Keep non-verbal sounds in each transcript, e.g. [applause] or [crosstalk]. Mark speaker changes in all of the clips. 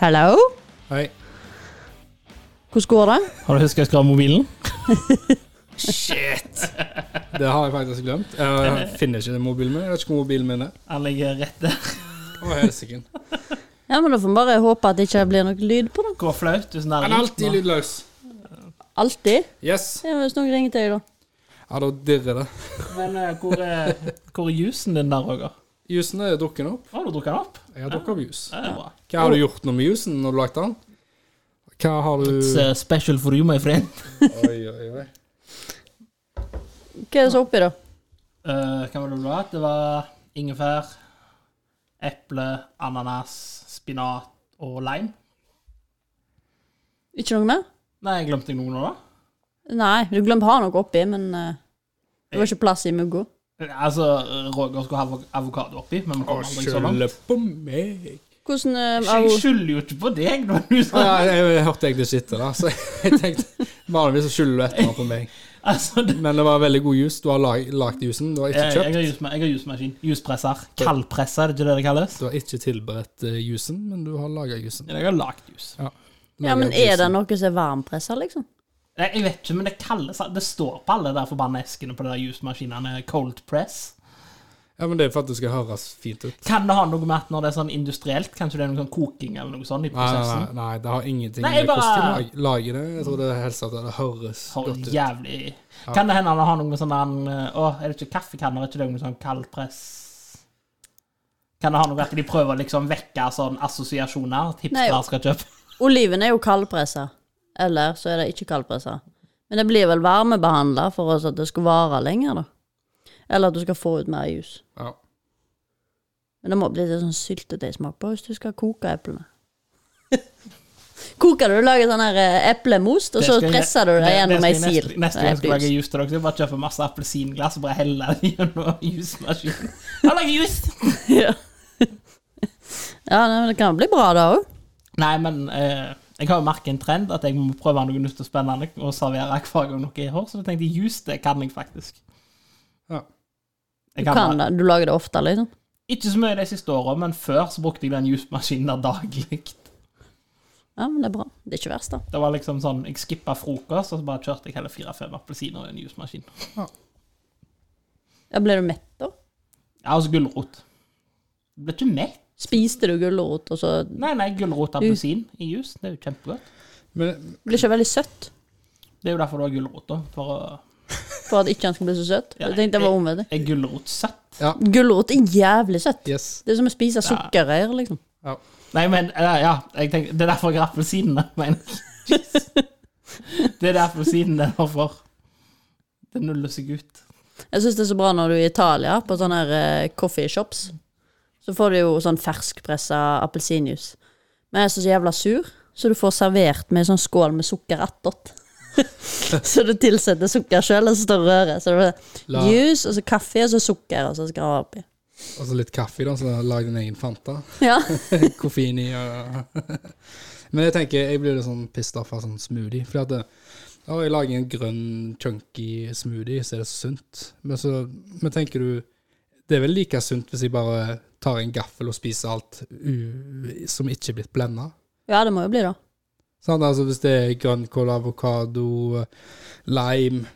Speaker 1: Hello?
Speaker 2: Hei.
Speaker 1: Hvordan går det?
Speaker 3: Har du huska å skru av mobilen?
Speaker 2: Shit! Det har jeg faktisk glemt. Jeg finner ikke den mobilen min. Jeg vet ikke hvor mobilen min er.
Speaker 3: Han ligger rett der.
Speaker 2: Å, helsike.
Speaker 1: Ja, men Da får vi bare håpe at det ikke blir noe lyd på det.
Speaker 3: Går flaut. Du
Speaker 2: Han er alltid lydløs.
Speaker 1: Alltid.
Speaker 2: Yes.
Speaker 1: Ja, hvis noen ringer til deg, da.
Speaker 2: Ja, da dirrer det.
Speaker 3: Men eh, hvor, er, [laughs] hvor er jusen din der, Roger?
Speaker 2: Jusen er drukken opp.
Speaker 3: Å, du drukket den opp?
Speaker 2: Jeg har drukket opp jus.
Speaker 3: Ja, Det er bra.
Speaker 2: Hva har du gjort nå med jusen når du lagde den? Hva har du
Speaker 3: It's eh, special for you, my friend.
Speaker 2: Oi, oi, oi.
Speaker 1: Hva er det som er oppi, da?
Speaker 3: Eh, hva var det du hadde? Det var ingefær, eple, ananas, spinat og lime.
Speaker 1: Ikke noe mer?
Speaker 3: Nei, jeg glemte jeg noe nå, da?
Speaker 1: Nei, du glemte å ha noe oppi, men eh, det var ikke plass i mugga.
Speaker 3: Altså, Roger skulle ha avo- avokado oppi, men
Speaker 2: Å,
Speaker 3: vi kom aldri så langt.
Speaker 2: skylde på meg.
Speaker 1: Hvordan eh,
Speaker 3: Ikke- Jeg
Speaker 1: avo-
Speaker 3: skylder jo ikke på deg, når du
Speaker 2: Å,
Speaker 3: sa
Speaker 2: ja, jeg, jeg hørte egentlig shit da, så jeg tenkte Vanligvis så skylder du et eller annet på meg.
Speaker 3: [laughs] altså, det,
Speaker 2: Men det var veldig god jus. Du har lag, lagd jusen. Du har
Speaker 3: jeg,
Speaker 2: ikke
Speaker 3: jeg,
Speaker 2: kjøpt.
Speaker 3: har jusma- jeg har jusmaskin. Juspresser. Kaldpresser, er det ikke det det kalles?
Speaker 2: Du har ikke tilberedt eh, jusen, men du har laga jusen.
Speaker 3: Jeg har lagd jus.
Speaker 1: Ja, men er det noe som er varmpressa, liksom?
Speaker 3: Nei, jeg vet ikke, men det kalles Det står på alle der forbanna eskene på de der jusmaskinene. Cold press.
Speaker 2: Ja, men Det er for at det skal høres fint ut.
Speaker 3: Kan det ha noe med at når det er sånn industrielt, kanskje det er noe sånn koking eller noe sånt i
Speaker 2: Nei, nei, nei,
Speaker 3: prosessen?
Speaker 2: nei det har ingenting
Speaker 3: Nei, jeg
Speaker 2: med hvordan de
Speaker 3: bare-
Speaker 2: lag- lager det Jeg tror det er helst at det høres
Speaker 3: Har
Speaker 2: godt ut.
Speaker 3: jævlig Kan det hende han har noe med sånn der, Å, er det ikke kaffekanner? Er ikke det noe sånn kaldpress? Kan det ha noe at de prøver å liksom vekke sånn assosiasjoner?
Speaker 1: Nei, jo.
Speaker 3: Hipster skal kjøpe
Speaker 1: Oliven er jo kaldpressa. Eller så er det ikke kaldpressa. Men det blir vel varmebehandla for oss at det skal vare lenger, da. Eller at du skal få ut mer jus.
Speaker 2: Ja.
Speaker 1: Men det må bli litt sånn syltetøysmak på hvis du skal koke eplene. [laughs] Koker du, lager sånn her eh, eplemost, og
Speaker 3: Det
Speaker 1: så
Speaker 3: skal jeg-
Speaker 1: presser du det
Speaker 3: det-
Speaker 1: gjennom
Speaker 3: det
Speaker 1: ei
Speaker 3: skal jeg
Speaker 1: sil.
Speaker 3: neste- Neste gang jeg skal lage jus til dere, så bare kjøpe masse appelsinglass og bare helle det gjennom [laughs] jusmaskinen. Jeg lager jus!
Speaker 1: Ja, [laughs] ja nei, men det kan bli bra, da òg.
Speaker 3: Nei, men eh, jeg har jo merket en trend at jeg må prøve noe nytt og spennende og servere hver gang noe jeg har, så jeg tenkte jus, det kan jeg faktisk.
Speaker 2: Ja.
Speaker 3: Jeg
Speaker 1: Du, kan
Speaker 3: det.
Speaker 1: det. du lager det ofte, liksom.
Speaker 3: Ikke så mye de siste åra, men før så brukte jeg den jusmaskinen [laughs] der daglig.
Speaker 1: Ja, men det er bra. Det er ikke verst, da.
Speaker 3: Det var liksom sånn, Jeg skippa frokost, og så bare kjørte jeg hele fire-fem appelsiner i en jusmaskin.
Speaker 1: Ja, Ble du mett, da?
Speaker 3: Ja, og så gulrot. Ble ikke mett?
Speaker 1: Spiste du gulrot, og så
Speaker 3: Nei, nei, gulrot og appelsin i jus. Det er jo kjempegodt.
Speaker 2: Men
Speaker 1: Blir ikke veldig søtt?
Speaker 3: Det er jo derfor du har gulrot, da. For å
Speaker 1: For at ikke han skal bli så søt?
Speaker 3: Ja,
Speaker 1: Jeg tenkte det var omvendt.
Speaker 3: Er gulrot søtt?
Speaker 2: ja,
Speaker 1: Gulrot er jævlig søtt.
Speaker 2: yes.
Speaker 1: Det er som å spise sukkerrør, liksom.
Speaker 2: Ja.
Speaker 3: Nei, men eh, Ja, jeg tenker, det er derfor jeg har appelsinene, mener jeg. Jesus. Det er det appelsinene er for. Det nuller seg ut.
Speaker 1: Jeg syns det er så bra når du er i Italia, på sånne her eh, coffee shops. Så får du jo sånn ferskpressa appelsinjuice. Men jeg er så jævla sur, så du får servert med en sånn skål med sukker attåt. [laughs] så du tilsetter sukker sjøl, og så står røret. Så det
Speaker 2: La-
Speaker 1: er juice, og så kaffe, og så sukker, og så skal det være oppi. [laughs]
Speaker 2: Og så litt kaffe, da, så lag din egen Fanta. [laughs]
Speaker 1: Ja.
Speaker 2: Koffein i og [laughs] Men jeg tenker jeg blir litt sånn pissed off av sånn smoothie. Fordi at det, å, jeg lager en grønn, chunky smoothie, så er det så sunt. Men så men tenker du Det er vel like sunt hvis jeg bare tar en gaffel og spiser alt u, som ikke er blitt blenda?
Speaker 1: ja, det må jo bli det.
Speaker 2: Sant? Altså hvis det er grønnkål, avokado, lime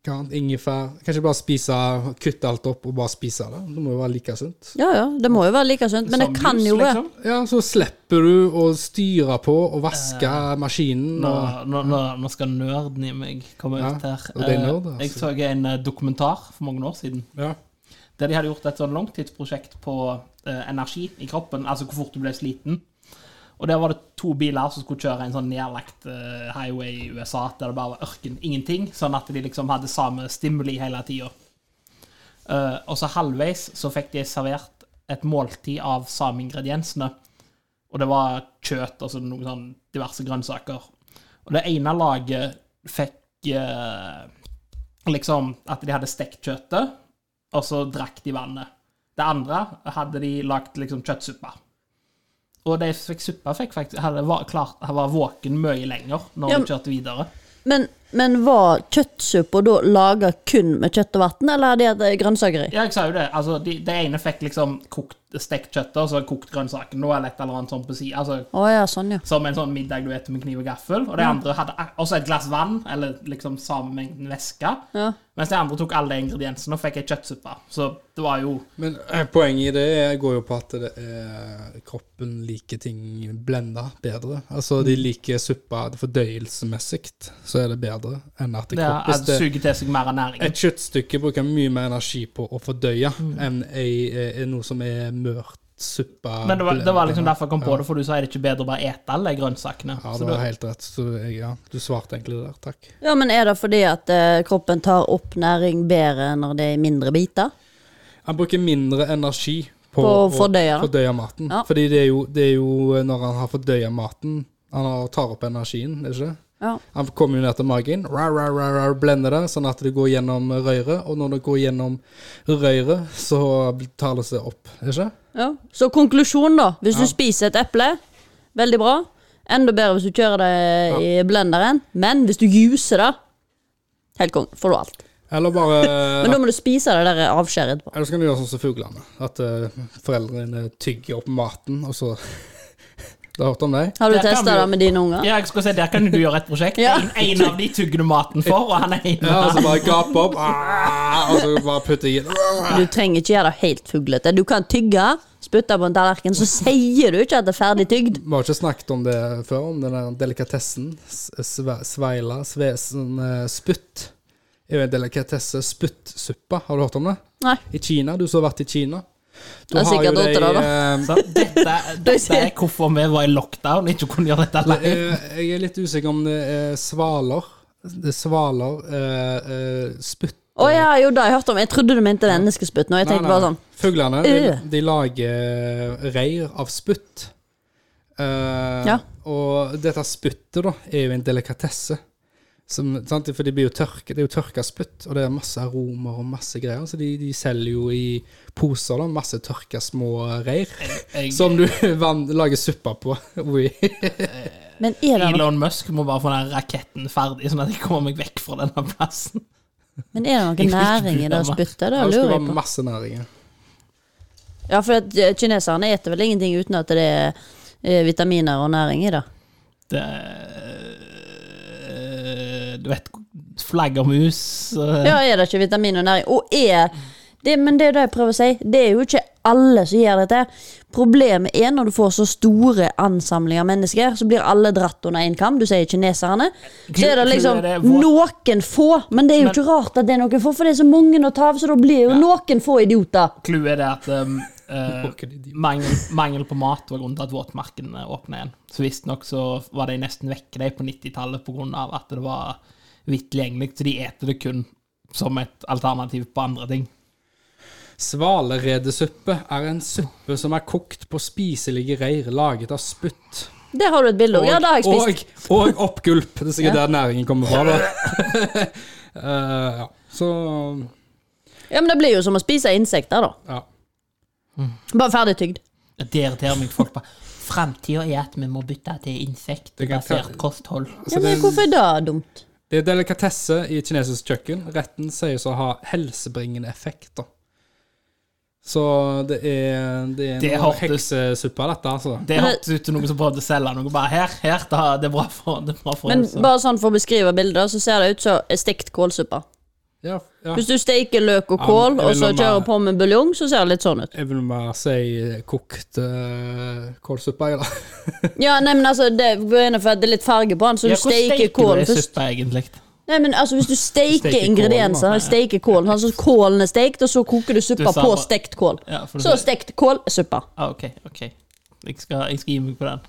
Speaker 2: hva annet? Ingefær. Kanskje bare spise, kutte alt opp og bare spise det. Det må jo være like sunt.
Speaker 1: Ja ja, det må jo være like sunt, men det
Speaker 3: Som
Speaker 1: kan
Speaker 3: jus,
Speaker 1: jo være
Speaker 3: liksom.
Speaker 2: Ja, så slipper du å styre på og vaske maskinen.
Speaker 3: Nå,
Speaker 2: Og,
Speaker 3: nå, nå, nå skal nerden i meg komme
Speaker 2: Ja,
Speaker 3: ut her.
Speaker 2: og det er
Speaker 3: Eh,
Speaker 2: nerd, altså.
Speaker 3: Jeg så en eh, dokumentar for mange år siden
Speaker 2: ja.
Speaker 3: der de hadde gjort et sånn langtidsprosjekt på eh, energi i kroppen, altså hvor fort du ble sliten. Og der var det to biler som skulle kjøre en sånn nedlagt eh, highway i USA der det bare var ørken, ingenting, sånn at de liksom hadde samme stimuli hele tida. Eh, og så halvveis så fikk de servert et måltid av samme ingrediensene. Og det var kjøtt og så noen sånn diverse grønnsaker. Og det ene laget fikk eh, liksom at de hadde stekt kjøttet, og så drakk de vannet. Det andre hadde de lagd liksom kjøttsuppe. Og de som fikk suppe, fikk faktisk, hadde var, klart, hadde var våken mye lenger når
Speaker 1: Ja,
Speaker 3: de kjørte videre.
Speaker 1: Men Men var kjøttsuppa da laga kun med kjøtt og vann, eller hadde de hatt grønnsaker i?
Speaker 3: Ja, jeg sa jo det. Altså, de, det ene fikk liksom kokt, stekt kjøtt og så kokt grønnsaker. Nå er det et eller annet sånn på siden, Altså,
Speaker 1: Å ja, sånn, ja.
Speaker 3: som en sånn middag du spiser med kniv og gaffel. Og det andre hadde ak- også et glass vann, eller liksom samme mengden væske.
Speaker 1: Ja.
Speaker 3: Mens det andre tok alle de ingrediensene og fikk ei kjøttsuppe. Så det var jo
Speaker 2: Men eh, poenget i det er- går jo på at det er, kroppen liker ting blenda bedre. Altså,
Speaker 3: Mm.
Speaker 2: de liker suppa fordøyelsesmessig, så er det bedre enn at
Speaker 3: Det er-
Speaker 2: kroppen
Speaker 3: det suger til seg mer av næringen.
Speaker 2: Et kjøttstykke bruker mye mer energi på å fordøye
Speaker 3: Mm.
Speaker 2: enn ei, eh, noe som er mørt suppe.
Speaker 3: Men det var, det var liksom
Speaker 2: blenda.
Speaker 3: derfor jeg kom på det, for du sa er det ikke bedre å bare ete alle de grønnsakene?
Speaker 2: Ja,
Speaker 3: Så
Speaker 2: det
Speaker 3: da-
Speaker 2: var helt rett. Så jeg, ja, du svarte egentlig der. Takk.
Speaker 1: ja, men er det fordi at eh, kroppen tar opp næring bedre når det er i mindre biter?
Speaker 2: Han bruker mindre energi på,
Speaker 1: På å
Speaker 2: å
Speaker 1: fordøye det.
Speaker 2: fordøye maten.
Speaker 1: Ja.
Speaker 2: Fordi det er, jo, det er jo eh, når han har fordøya maten, han har- tar opp energien, er det ikke?
Speaker 1: Ja.
Speaker 2: Han kommer jo ned til magen, rar, rar, rar, rar, blender det, sånn at det går gjennom røret. Og når det går gjennom røret, så tar det seg opp, er det ikke?
Speaker 1: Ja. Så konklusjon, da. Hvis du spiser et eple, veldig bra. Enda bedre hvis du kjører det i blenderen. Men hvis du juicer det, helt kong, får du alt.
Speaker 2: Eller bare
Speaker 1: Men da må du spise det der avskjæret etterpå.
Speaker 2: Eller så kan du gjøre sånn som fuglene. At eh, foreldrene dine tygger opp maten, og så [laughs] Du har hørt om det?
Speaker 1: Har du
Speaker 3: Det kan
Speaker 1: testa
Speaker 3: vi jo-
Speaker 1: det med dine unger?
Speaker 3: Ja, jeg skal si, Der kan jo du gjøre et prosjekt.
Speaker 1: Ja.
Speaker 3: en, en av de tygger du maten for, og han er en
Speaker 2: Ja, og så bare gape opp, ah, og så bare putte i
Speaker 1: Du trenger ikke gjøre det helt fuglete. Du kan tygge, spytte på en tallerken, så sier du ikke at det er ferdig tygd.
Speaker 2: Vi har ikke snakket om det før, om den der delikatessen. S- sve- Sveila, svesen, eh, spytt. Det er jo en delikatesse. Spyttsuppa, har du hørt om det?
Speaker 1: Nei.
Speaker 2: I Kina, du som har vært i Kina. Du
Speaker 1: Jeg har sikkert hørt det, da.
Speaker 2: eh,
Speaker 3: Så
Speaker 1: [laughs]
Speaker 3: dette, dette er hvorfor vi var i lockdown og ikke kunne gjøre dette
Speaker 2: Jeg,
Speaker 3: live.
Speaker 2: jeg er litt usikker om det er svaler. Det er svaler eh, eh, Spytt
Speaker 1: Å ja, jo da, jeg hørte om Jeg trodde du mente menneskespytt nå. Jeg tenkte bare sånn
Speaker 2: Fuglene de,
Speaker 1: Øh.
Speaker 2: de lager reir av spytt. Eh,
Speaker 1: Ja.
Speaker 2: Og dette spyttet da, er jo en delikatesse. Som, sant? For de blir jo tørke, det er jo tørka spytt, og det er masse aromer og masse greier. Så de, de selger jo i poser da, masse tørka små reir.
Speaker 3: Jeg-
Speaker 2: Som du [laughs] vann, lager suppe på. Oi.
Speaker 1: Men er det, noe,
Speaker 3: Elon Musk må bare få den raketten ferdig, sånn at jeg kommer meg vekk fra denne plassen.
Speaker 1: men er det noe næring i det spyttet? Det
Speaker 2: Ja, Det
Speaker 1: lurer
Speaker 2: skulle
Speaker 1: jeg på.
Speaker 2: være masse næringer.
Speaker 1: Ja, for at eh, kineserne eter vel ingenting uten at det er eh, vitaminer og næring i det.
Speaker 3: Det, du vet, flaggermus eh,
Speaker 1: Ja, er det ikke vitamin og næring? Og er det, Men det er det jeg prøver å si. Det er jo ikke alle som gjør dette. Problemet er når du får så store ansamlinger av mennesker, så blir alle dratt under én kam. Du sier kineserne. Så er det liksom
Speaker 3: Det er vår-
Speaker 1: noen få. Men det er jo
Speaker 3: Men-
Speaker 1: ikke rart at det er noen få, for det er så mange å ta av, så da blir jo noen få idioter.
Speaker 3: Clouet er det at um, eh,
Speaker 2: Noen idiot.
Speaker 3: mangel, mangel på mat var grunnen til at våtmarkene åpna igjen. Så Visstnok så var de nesten vekke de på 90-tallet pga. at det var vidt tilgjengelig, så de eter det kun som et alternativ på andre ting.
Speaker 2: Svaleredesuppe er en suppe som er kokt på spiselige reir laget av spytt.
Speaker 1: Det har du et bilde av. Ja, det har jeg spist.
Speaker 2: og, og oppgulp. Det er sikkert der næringen kommer fra, da. Eh, ja. Så
Speaker 1: Ja, Men det blir jo som å spise insekter, da.
Speaker 2: ja.
Speaker 1: Bare ferdig tygd.
Speaker 3: Det irriterer meg folk på. Framtida er at vi må bytte til insektbasert kosthold.
Speaker 2: Altså,
Speaker 1: Ja,
Speaker 2: det,
Speaker 1: men
Speaker 2: er en-
Speaker 1: Hvorfor er det dumt?
Speaker 2: det er delikatesse i kinesisk kjøkken. Retten sies å ha helsebringende effekt, da. Så det er, det er
Speaker 3: Det
Speaker 2: noe
Speaker 3: hørtes-
Speaker 2: heksesuppe, dette, altså.
Speaker 3: Det
Speaker 1: Men-
Speaker 3: hørtes ut som noen som prøvde å selge noe. Bare her, her, det er- det er bra for, det er bra for
Speaker 1: Men
Speaker 3: helsa.
Speaker 1: bare sånn for å beskrive bildet, så ser det ut som stekt kålsuppe.
Speaker 2: Ja, ja.
Speaker 1: Hvis du steker løk og
Speaker 2: Ja,
Speaker 1: kål,
Speaker 2: men jeg
Speaker 1: og
Speaker 2: vil
Speaker 1: så
Speaker 2: nå
Speaker 1: kjører
Speaker 2: bare-
Speaker 1: på med buljong, så ser det litt sånn ut.
Speaker 2: Jeg vil bare si kokt uh, kålsuppe, jeg, da.
Speaker 1: Ja, nei, men altså, Det går inn for at det er litt farge på den, så
Speaker 3: Ja,
Speaker 1: du
Speaker 3: hvordan
Speaker 1: steker
Speaker 3: du
Speaker 1: kålen
Speaker 3: i
Speaker 1: først.
Speaker 3: suppe, egentlig?
Speaker 1: Nei, men altså, Hvis du steker
Speaker 2: Steker
Speaker 1: ingredienser,
Speaker 2: kålen,
Speaker 1: steker kålen, sånn så kålen er stekt, og så koker du
Speaker 3: Du
Speaker 1: suppa
Speaker 3: sa
Speaker 1: på
Speaker 3: bare-
Speaker 1: stekt kål.
Speaker 3: Ja, for
Speaker 1: Så
Speaker 3: det,
Speaker 1: stekt kål, suppa.
Speaker 3: ah, OK. ok. Jeg skal, jeg skal gi meg på den.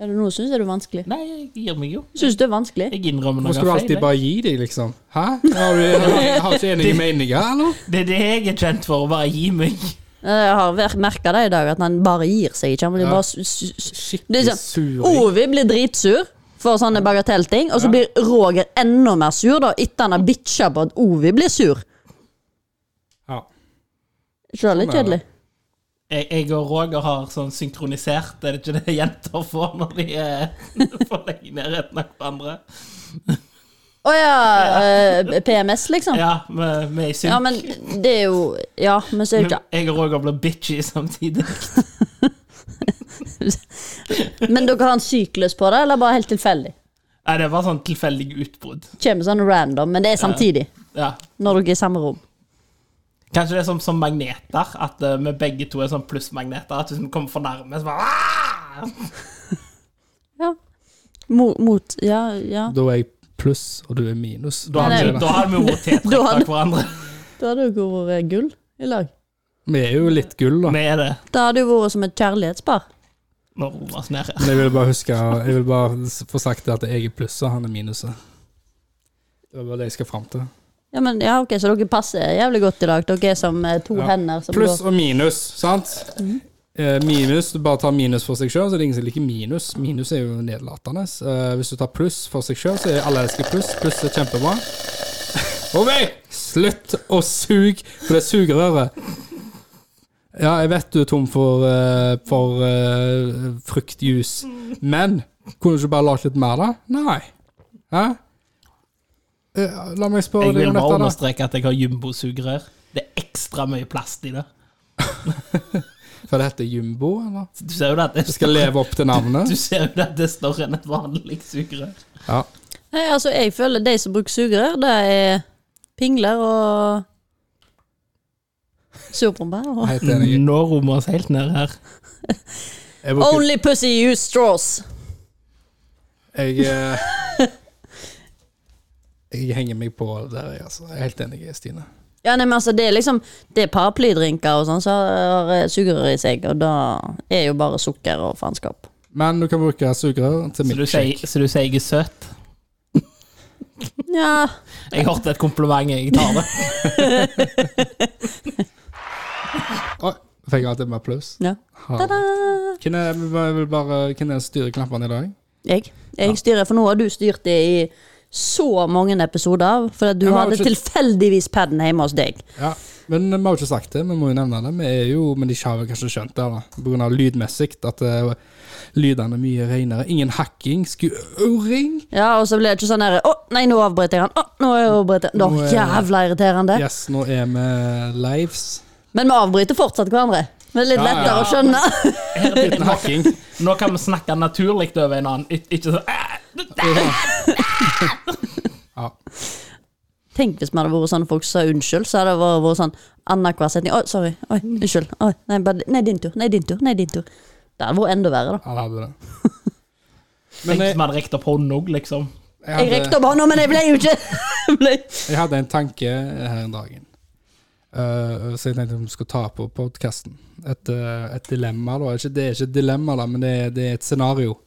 Speaker 1: Er det noe syns jeg det er vanskelig?
Speaker 3: Nei, jeg gir meg jo.
Speaker 1: Syns du det er vanskelig?
Speaker 3: Jeg innrømmer noe
Speaker 2: Hvorfor skal du alltid
Speaker 3: feil. jeg.
Speaker 2: bare gi dem, liksom? Hæ? Har du har, har ikke enige meninger, eller?
Speaker 3: Det er det jeg er kjent for, å bare gi meg.
Speaker 1: Jeg har merka det i dag, at han bare gir seg ikke. Han blir
Speaker 2: Ja.
Speaker 1: bare s- s- s- Det er
Speaker 2: Skikkelig
Speaker 1: sånn-
Speaker 2: suring.
Speaker 1: Ovi blir dritsur for sånne bagatellting, og så blir Roger enda mer sur da, etter han har bitcha på at Ovi blir sur. Ikke
Speaker 2: Ja.
Speaker 1: det litt
Speaker 2: Sånn er
Speaker 1: kjedelig?
Speaker 2: det.
Speaker 3: Jeg, jeg og Roger har sånn synkronisert, er det ikke [laughs] det jenter får når de er, får legge ned retten av hverandre?
Speaker 1: Å ja! eh, PMS, liksom?
Speaker 3: Ja, vi vi er i synk.
Speaker 1: Ja, men det er jo Ja, men så er det ikke
Speaker 3: jeg og Roger blir bitchy samtidig.
Speaker 1: Men dere har en syklus på det, eller bare helt tilfeldig?
Speaker 3: Nei, det var sånn tilfeldig utbrudd.
Speaker 1: Kommer sånn random, men det er samtidig.
Speaker 3: Ja.
Speaker 1: Når dere er i samme rom.
Speaker 3: Kanskje det er som, som magneter, at eh, vi begge to er sånn plussmagneter. At hvis vi kommer for nærme, så bare «Ah!»
Speaker 1: Ja. Mot, mot Ja, ja.
Speaker 2: Da er jeg pluss, og du er minus.
Speaker 3: Da hadde vi- da hadde vi
Speaker 1: [laughs] Da
Speaker 3: vært tetrekk
Speaker 1: hadde-
Speaker 3: av hverandre.
Speaker 1: Da hadde jo vært gull i lag.
Speaker 2: Vi er jo litt gull, da.
Speaker 3: Vi er det
Speaker 1: Det hadde jo vært som et kjærlighetspar.
Speaker 3: når Roger er nede.
Speaker 2: Men jeg vil bare huske Jeg vil bare s- få sagt at jeg er plusset, han er minuset. Det var bare det jeg skal fram til.
Speaker 1: Ja, men, ja, ok, Så dere passer jævlig godt i dag. Dere er som eh, to
Speaker 2: Ja.
Speaker 1: hender som
Speaker 2: Pluss
Speaker 1: går
Speaker 2: og minus, sant? Eh, Minus, du bare tar minus for seg sjøl, så er det ingen som liker minus. Minus er jo nedlatende. Eh, Hvis du tar pluss for seg sjøl, så er alle elsker pluss. Pluss er kjempebra. [laughs] OK! Slutt å suge på det sugerøret. Ja, jeg vet du er tom for, eh, for eh, fruktjuice, men kunne du ikke bare lagd litt mer, da? Nei. Hæ? Eh, La meg spørre
Speaker 3: Jeg
Speaker 2: deg
Speaker 3: vil
Speaker 2: om
Speaker 3: bare
Speaker 2: dette, da.
Speaker 3: understreke at jeg har jumbo-sugerør. Det er ekstra mye plast i det.
Speaker 2: For det heter jumbo, eller?
Speaker 3: Du ser jo det at det
Speaker 2: Du skal leve opp til navnet?
Speaker 3: [laughs] Du ser jo det at det er større enn et vanlig sugerør.
Speaker 2: Ja.
Speaker 1: Nei, altså, Jeg føler de som bruker sugerør, det er pingler og surpomper. Og
Speaker 2: Helt enig.
Speaker 3: Nå romer oss helt ned her.
Speaker 2: Jeg, bruker,
Speaker 1: Only pussy use straws!
Speaker 2: jeg, eh, jeg henger meg på der, jeg, altså. Jeg er helt enig, Stine.
Speaker 1: Ja, nei, men altså, Det er liksom Det er paraplydrinker og sånn som har eh, sugerør i seg, og da er jo bare sukker og faenskap.
Speaker 2: Men du kan bruke sugerør til
Speaker 3: Så du sier,
Speaker 2: milkshake.
Speaker 3: så du sier jeg er søt?
Speaker 1: Ja,
Speaker 3: Jeg hørte et kompliment, jeg tar
Speaker 2: [laughs]
Speaker 3: det.
Speaker 2: Oi, fikk jeg alltid mer pluss?
Speaker 1: Ja. Ah,
Speaker 2: Ha det.
Speaker 1: Ta-da!
Speaker 2: Hvem er, jeg vil bare, hvem er det som styrer knappene i dag?
Speaker 1: Jeg. Jeg styrer, for nå har du styrt det i så mange episoder, for at du
Speaker 2: Ja, men altså-
Speaker 1: hadde
Speaker 2: ikke-
Speaker 1: tilfeldigvis paden hjemme hos deg.
Speaker 2: Ja, Men vi har jo ikke sagt det, vi må jo nevne det. Vi er jo, Men de har vel kanskje skjønt det, da. På grunn av lydmessig. At eh, lydene er mye renere. Ingen hakking, skuring.
Speaker 1: Ja, og så blir det ikke sånn her Å, nei, nå avbryter jeg han. Å, nå avbryter jeg han.
Speaker 2: Nå
Speaker 1: Det
Speaker 2: er-
Speaker 1: er jævla irriterende.
Speaker 2: Yes, nå er vi lives.
Speaker 1: Men vi avbryter fortsatt hverandre. Det er litt
Speaker 2: Ja,
Speaker 1: lettere
Speaker 2: ja.
Speaker 1: å skjønne. [laughs]
Speaker 3: Her, er det-
Speaker 2: Uten hakking.
Speaker 3: nå kan vi snakke naturlig over en annen. Ik ikke sånn «Æ, [laughs]
Speaker 2: Ja.
Speaker 1: Tenk hvis vi hadde vært sånne folk som sa unnskyld, så hadde det vært, vært sånn annenhver setning Oi, sorry. Oi, unnskyld. Oi, nei, bare, nei, din tur. Nei, din tur. Nei, din tur. Det hadde vært enda verre, da.
Speaker 2: Han hadde det.
Speaker 3: Tenk
Speaker 2: [laughs] Men
Speaker 3: hvis
Speaker 2: jeg,
Speaker 3: vi hadde rekt opp hånden òg, liksom.
Speaker 2: jeg,
Speaker 1: Jeg rekte
Speaker 2: hadde,
Speaker 1: opp hånda, men jeg ble jo ikke [laughs] ble.
Speaker 2: jeg hadde en tanke her en dagen. Eh, så jeg tenkte vi skulle ta på podkasten. Et, eh, et dilemma, da. Ikke, det er ikke et dilemma, da, men det er, det er et scenario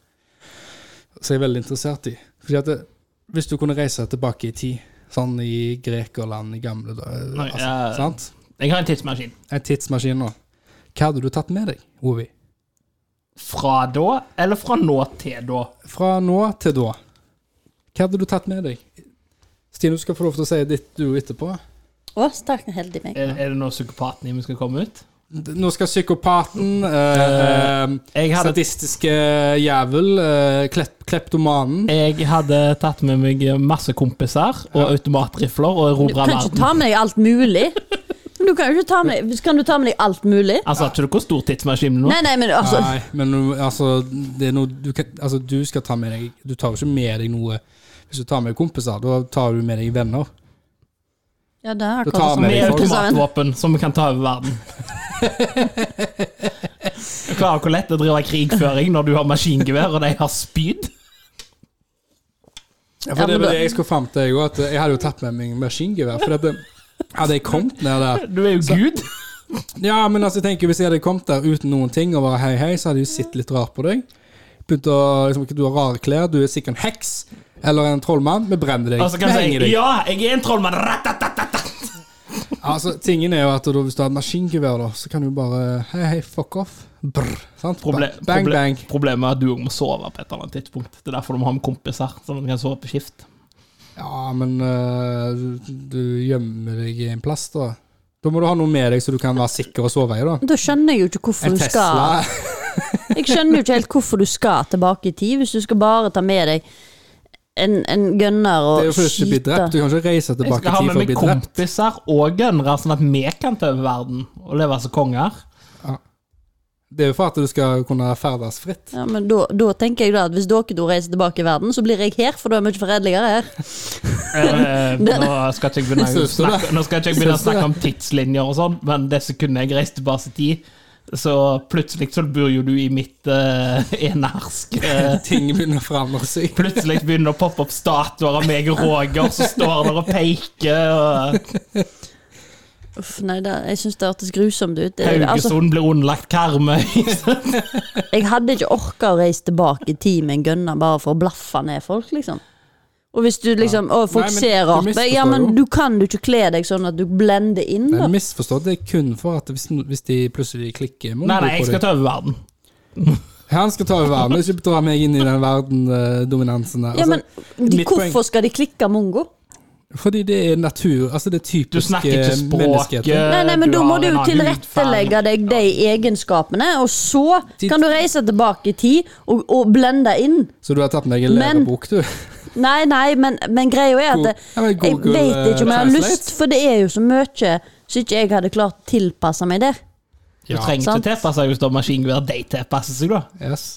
Speaker 2: som jeg er veldig interessert i. Fordi at det, Hvis du kunne reise tilbake i tid, sånn i Grekerland i gamle dager
Speaker 3: Nei,
Speaker 2: altså,
Speaker 3: ja.
Speaker 2: sant?
Speaker 3: Jeg har en tidsmaskin.
Speaker 2: En tidsmaskin nå. Hva hadde du tatt med deg, Ovi?
Speaker 3: Fra da, eller fra nå til da?
Speaker 2: Fra nå til da. Hva hadde du tatt med deg? Stine, du skal få lov til å si ditt du etterpå.
Speaker 1: Å, stakk helt i
Speaker 2: Eh,
Speaker 1: meg.
Speaker 3: Er, er det nå psykopaten i meg skal komme ut?
Speaker 2: Nå skal psykopaten, eh,
Speaker 3: Jeg hadde
Speaker 2: statistiske jævel, eh, klep kleptomanen
Speaker 3: Jeg hadde tatt med meg masse kompiser og automatrifler og
Speaker 1: Du
Speaker 3: erobra
Speaker 1: kan ikke
Speaker 3: verden.
Speaker 1: ta med deg alt mulig. Du kan jo ikke ta med Kan du ta med deg alt mulig?
Speaker 3: Altså, ikke du hvor stor tidsmaskin nå?
Speaker 1: Nei, nei, men altså
Speaker 2: Nei, men nå, altså, det er noe du, kan, altså, du skal ta med deg Du tar jo ikke med deg noe Hvis du tar med kompiser, da tar du med deg venner.
Speaker 1: Ja, det er
Speaker 2: Du tar
Speaker 1: akkurat som
Speaker 2: med
Speaker 3: Med
Speaker 2: deg folk.
Speaker 1: kompisene.
Speaker 3: automatvåpen som vi kan ta over verden. Jeg klarer hvor lett det er å drive krigføring når du har maskingevær og de har spyd.
Speaker 2: Ja,
Speaker 1: Ja,
Speaker 2: for det
Speaker 1: men
Speaker 2: var
Speaker 1: da-
Speaker 2: det jeg skulle fram til, jeg òg. at Jeg hadde jo tatt med meg maskingevær. For dette, hadde jeg kommet ned der
Speaker 3: Du er jo gud.
Speaker 2: Ja, men altså, jeg tenker Hvis jeg hadde kommet der uten noen ting og bare hei, hei, så hadde jeg sett litt rart på deg. Begynt å, liksom, Du har rare klær, du er sikkert en heks eller en trollmann. Vi brenner deg.
Speaker 3: Og så kan
Speaker 2: Vi
Speaker 3: jeg
Speaker 2: henger
Speaker 3: si
Speaker 2: deg.
Speaker 3: ja, jeg er en trollmann. Ratatatata.
Speaker 2: Altså, tingen er jo at da, Hvis du har et maskingevær, da, så kan du bare hei, hei, fuck off. Brr, sant?
Speaker 3: Proble
Speaker 2: bang,
Speaker 3: proble-
Speaker 2: bang.
Speaker 3: Problemet er at du òg må sove på et eller annet tidspunkt. Det er derfor du må ha med kompiser, så du kan sove på skift.
Speaker 2: Ja, men øh, du, du gjemmer deg i en plass, da. Da må du ha noe med deg så du kan være sikker og sove i, da.
Speaker 1: Da skjønner jeg jo ikke hvorfor
Speaker 2: En
Speaker 1: du skal
Speaker 2: Tesla.
Speaker 1: Jeg skjønner jo ikke helt hvorfor du skal tilbake i tid, hvis du skal bare ta med deg en, en gunner
Speaker 2: Det er
Speaker 1: og
Speaker 2: jo for ikke å bli drept. Du kan ikke reise
Speaker 3: Jeg
Speaker 2: tilbake i
Speaker 3: skal ha
Speaker 2: tid for
Speaker 3: med
Speaker 2: å
Speaker 3: meg
Speaker 2: bli drept.
Speaker 3: kompiser og gønnere, sånn at vi kan ta over verden og leve som konger.
Speaker 2: Det er jo for at du skal kunne ferdes fritt.
Speaker 1: Ja, men da, da tenker jeg da at hvis dere to reiser tilbake i verden, så blir jeg her, for da er jeg mye fredeligere her. [laughs]
Speaker 3: Eh, nå skal ikke jeg begynne å
Speaker 2: Syns du det?
Speaker 3: snakke, nå skal ikke jeg begynne å
Speaker 2: Syns du
Speaker 3: snakke om tidslinjer og sånn, men det sekundet jeg reiste tilbake i tid, så plutselig så bor jo du i mitt eh, enersk. eh,
Speaker 2: [laughs] Ting begynner å forandre seg.
Speaker 3: Plutselig begynner det å poppe opp statuer av meg og Roger som står der og peker. Og
Speaker 1: Uff, nei, det, jeg syns det hørtes grusomt ut. Det, altså,
Speaker 3: Haugesund blir underlagt
Speaker 1: [laughs]
Speaker 3: Karmøy.
Speaker 1: jeg hadde ikke orka å reise tilbake i tid med en gunner bare for å blaffe ned folk, liksom. Og hvis du liksom Å, folk
Speaker 2: Nei, men
Speaker 1: ser
Speaker 2: du
Speaker 1: rart på deg. Ja,
Speaker 2: misforstår
Speaker 1: men
Speaker 2: jo.
Speaker 1: du kan du ikke kle deg sånn at du blender inn, da.
Speaker 2: Men misforstå, det er kun for at hvis, hvis de plutselig klikker må du
Speaker 3: Nei,
Speaker 2: bo
Speaker 3: nei,
Speaker 2: på
Speaker 3: jeg
Speaker 2: det.
Speaker 3: skal ta over verden.
Speaker 2: Han skal ta over verden, ikke dra meg inn i den verdendominansen der.
Speaker 1: Ja, men
Speaker 2: altså,
Speaker 1: de,
Speaker 2: mitt poeng-
Speaker 1: hvorfor skal de klikke mongo?
Speaker 2: fordi det er natur, altså det er
Speaker 3: Du
Speaker 2: typisk
Speaker 3: snakker ikke
Speaker 2: eh,
Speaker 3: språket.
Speaker 2: menneskehet.
Speaker 1: Nei, nei, men da må
Speaker 3: har
Speaker 1: du
Speaker 3: en
Speaker 1: jo
Speaker 3: annen
Speaker 1: tilrettelegge
Speaker 3: hudfarge.
Speaker 1: deg de egenskapene, og så
Speaker 2: De-
Speaker 1: kan du reise tilbake i tid og, og blende inn.
Speaker 2: Så du har tatt meg en
Speaker 1: Men-
Speaker 2: lærebok, du.
Speaker 1: Nei, nei, men, men greia er at
Speaker 2: Go-
Speaker 1: det,
Speaker 2: Ja, men
Speaker 1: jeg
Speaker 2: Google,
Speaker 1: vet ikke om jeg har
Speaker 2: eh,
Speaker 1: lyst, for det er jo så mye som ikke jeg hadde klart å tilpasse meg der.
Speaker 3: Du
Speaker 2: Ja.
Speaker 3: trenger ikke
Speaker 1: Sant.
Speaker 3: tilpasse deg hvis du har maskingevær. De tilpasser seg, da.
Speaker 2: Yes.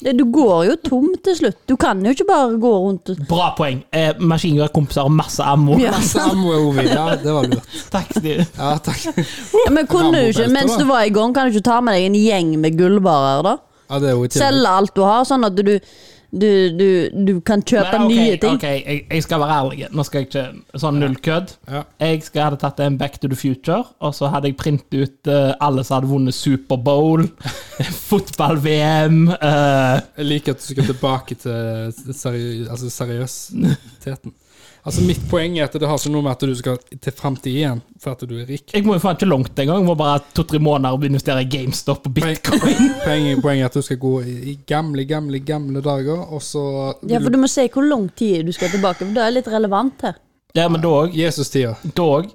Speaker 1: Det- Du går jo tom til slutt. Du kan jo ikke bare gå rundt og
Speaker 3: Bra poeng. Eh, Maskingeværkompiser og masse ammo.
Speaker 1: ja.
Speaker 2: Samme Ovi, ja, det var lurt.
Speaker 3: Takk, Stil.
Speaker 2: Ja, takk.
Speaker 1: Ja, Men kunne du ikke,
Speaker 2: Rambo-belte,
Speaker 1: mens
Speaker 2: da.
Speaker 1: du var i gang, kan du ikke ta med deg en gjeng med gullbarer, da?
Speaker 2: Ja, det er jo i tillegg.
Speaker 1: Selge alt du har, sånn at du, du, du, du kan kjøpe
Speaker 3: Men ok,
Speaker 1: nye ting.
Speaker 3: ok, jeg, jeg skal være ærlig. Nå skal jeg ikke sånn null kødd.
Speaker 2: Ja.
Speaker 3: Jeg skal, hadde tatt en Back to the Future, og så hadde jeg printet ut eh, alle som hadde vunnet [laughs] Superbowl, fotball-VM eh,
Speaker 2: Jeg liker at du skal tilbake til seri altså seriøsiteten. Altså Mitt poeng er at det har ikke noe med at du skal til framtid igjen for at du er rik.
Speaker 3: Jeg må jo faen ikke langt engang. Jeg Må bare to-tre måneder investere i GameStop og bitcoin.
Speaker 2: Poenget, poenget er at du skal gå i i gamle, gamle gamle dager, og så
Speaker 1: Ja, for du må se hvor lang tid du skal tilbake, for det er litt relevant her.
Speaker 3: Ja, men dog,
Speaker 2: Jesus-tida.
Speaker 3: dog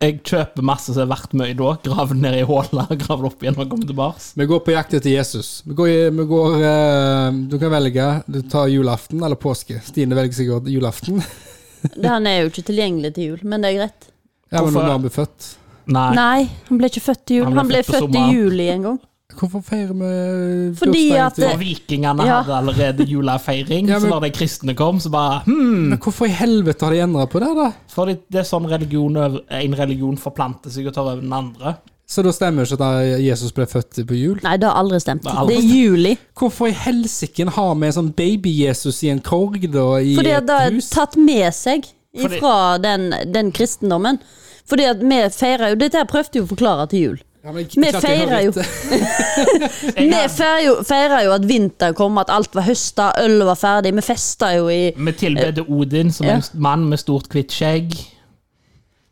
Speaker 3: Jeg kjøper masse som er verdt mye da. Graver det ned i [laughs] hullet, graver det opp igjen og kommer tilbake.
Speaker 2: Vi går på jakt etter Jesus. Vi går, i- vi går eh, Du kan velge. Du tar julaften eller påske. Stine velger sikkert julaften.
Speaker 1: Det Han er jo ikke tilgjengelig til jul, men det er greit.
Speaker 2: Ja, men
Speaker 3: Hvorfor-
Speaker 2: når han ble født.
Speaker 3: Nei.
Speaker 1: Nei, han ble ikke født til jul.
Speaker 3: Han ble
Speaker 1: Han ble
Speaker 3: født på
Speaker 1: født i
Speaker 3: sommeren.
Speaker 1: juli en gang.
Speaker 2: Hvorfor feirer vi
Speaker 1: Fordi
Speaker 2: bursdagen
Speaker 1: at eh,
Speaker 2: til-
Speaker 1: det-
Speaker 3: Og vikingene
Speaker 1: Ja.
Speaker 3: hadde allerede julefeiring,
Speaker 2: Ja, men-
Speaker 3: så når de kristne kom, så bare hmm,
Speaker 2: Men hvorfor i helvete har de endra på det, da?
Speaker 3: Fordi det er sånn religion, over- en religion forplanter seg og tar over den andre.
Speaker 2: Så da stemmer jo ikke at da Jesus ble født på jul?
Speaker 1: Nei, det har aldri stemt.
Speaker 3: Det har aldri
Speaker 1: Det er juli.
Speaker 2: Hvorfor i helsiken har vi en sånn baby-Jesus i en korg, da? I
Speaker 1: Fordi at det
Speaker 2: et
Speaker 1: er
Speaker 2: hus?
Speaker 1: tatt med seg
Speaker 3: Fordi-
Speaker 1: ifra den, den kristendommen. Fordi at vi feirer jo Dette her prøvde jeg å forklare til jul.
Speaker 2: Ja, men
Speaker 1: Vi
Speaker 2: ikke at jeg har
Speaker 1: feirer jo.
Speaker 2: rett.
Speaker 3: Jeg
Speaker 1: Vi
Speaker 3: har-
Speaker 1: feirer jo, feirer jo at vinter kom, at alt var høsta, øl var ferdig. Vi festa jo i
Speaker 3: Vi tilbedde Odin som
Speaker 1: Ja.
Speaker 3: en mann med stort, hvitt skegg.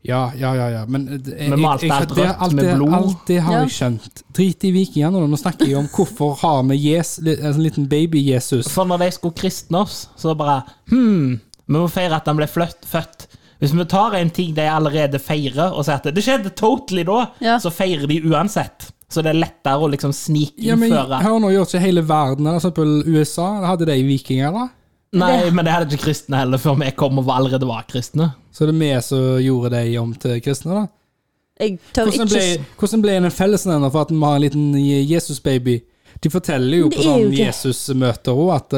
Speaker 2: Ja, ja, ja. ja. Men eh, jeg,
Speaker 3: Vi malte alt
Speaker 2: det-
Speaker 3: rødt
Speaker 2: alt
Speaker 3: med
Speaker 2: det-
Speaker 3: blod.
Speaker 2: Alt det har
Speaker 1: Ja.
Speaker 2: jeg skjønt. Drit i vikingene, nå. nå snakker jeg om hvorfor har vi jes, li- en sånn liten baby-Jesus.
Speaker 3: Så når de skulle kristne oss, så bare hmm, vi må feire at han ble fløtt, født. Hvis vi tar en ting de allerede feirer, og sier at det skjedde totally da,
Speaker 1: Ja.
Speaker 3: så feirer de uansett. Så det er lettere å liksom
Speaker 2: Ja, men
Speaker 3: snikinnføre.
Speaker 2: Hør nå, gjør ikke hele verden eller for eksempel USA Hadde de vikinger, da?
Speaker 3: Nei, men det hadde ikke kristne heller før vi kom og var- allerede var kristne.
Speaker 2: Så det er vi som gjorde de om til kristne, da?
Speaker 1: Jeg tør
Speaker 2: Hvordan
Speaker 1: ikke
Speaker 2: ble,
Speaker 1: s-
Speaker 2: hvordan ble en en fellesnevner for at vi har en liten Jesus-baby? De forteller
Speaker 1: Men
Speaker 2: jo
Speaker 1: det
Speaker 2: på
Speaker 1: er jo
Speaker 2: sånn
Speaker 1: det.
Speaker 2: Jesus-møter òg at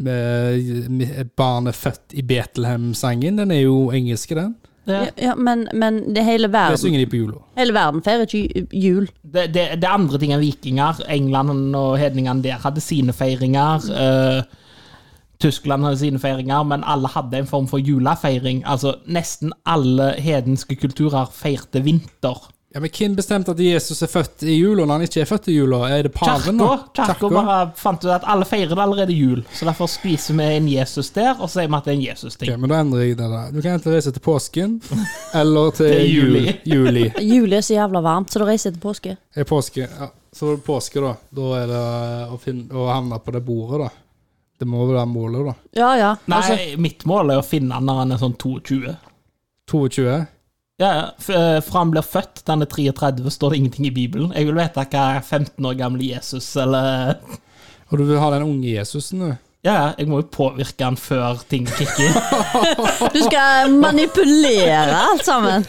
Speaker 2: eh, eh, barnet født i Betlehem-sangen, den er jo engelsk, den.
Speaker 1: ja, ja, men, men det hele
Speaker 2: Det
Speaker 1: verden
Speaker 2: synger de på jula.
Speaker 1: Hele verden feirer ikke ju- jul.
Speaker 3: det, det, det er andre ting enn vikinger. England og hedningene der hadde sine feiringer. eh, Tyskland hadde sine feiringer, men alle hadde en form for julefeiring. Altså, Nesten alle hedenske kulturer feirte vinter.
Speaker 2: Ja, men Hvem bestemte at Jesus er født i jula når han ikke er født i jula? Er det paven,
Speaker 3: Kirka
Speaker 2: da?
Speaker 3: kirka
Speaker 2: Kirka?
Speaker 3: bare fant ut at alle feirer det allerede jul, så derfor spiser vi en Jesus der, og så sier vi at det er en
Speaker 2: Ok,
Speaker 3: Jesus-ting.
Speaker 2: men da endrer jeg det. da. Du kan enten reise til påsken eller til
Speaker 3: Til juli.
Speaker 2: juli. [laughs] juli.
Speaker 1: Juli er så jævla varmt, så da reiser jeg til påske.
Speaker 2: Er påske, ja. Så var det påske, da. Da er det eh, å, finne, å havne på det bordet, da. Det må vel være målet, da.
Speaker 1: Ja, ja.
Speaker 3: Nei,
Speaker 1: Altså,
Speaker 3: mitt mål er å finne han når han er sånn 22.
Speaker 2: 22?
Speaker 3: Ja, ja. F- eh, Fra han blir født til han er 33, står det ingenting i Bibelen. Jeg vil vite hva 15 år gamle Jesus eller
Speaker 2: Og du vil ha den unge Jesusen, du.
Speaker 3: Ja, ja, jeg må jo påvirke den før ting kicker. [laughs]
Speaker 1: Du skal manipulere alt sammen.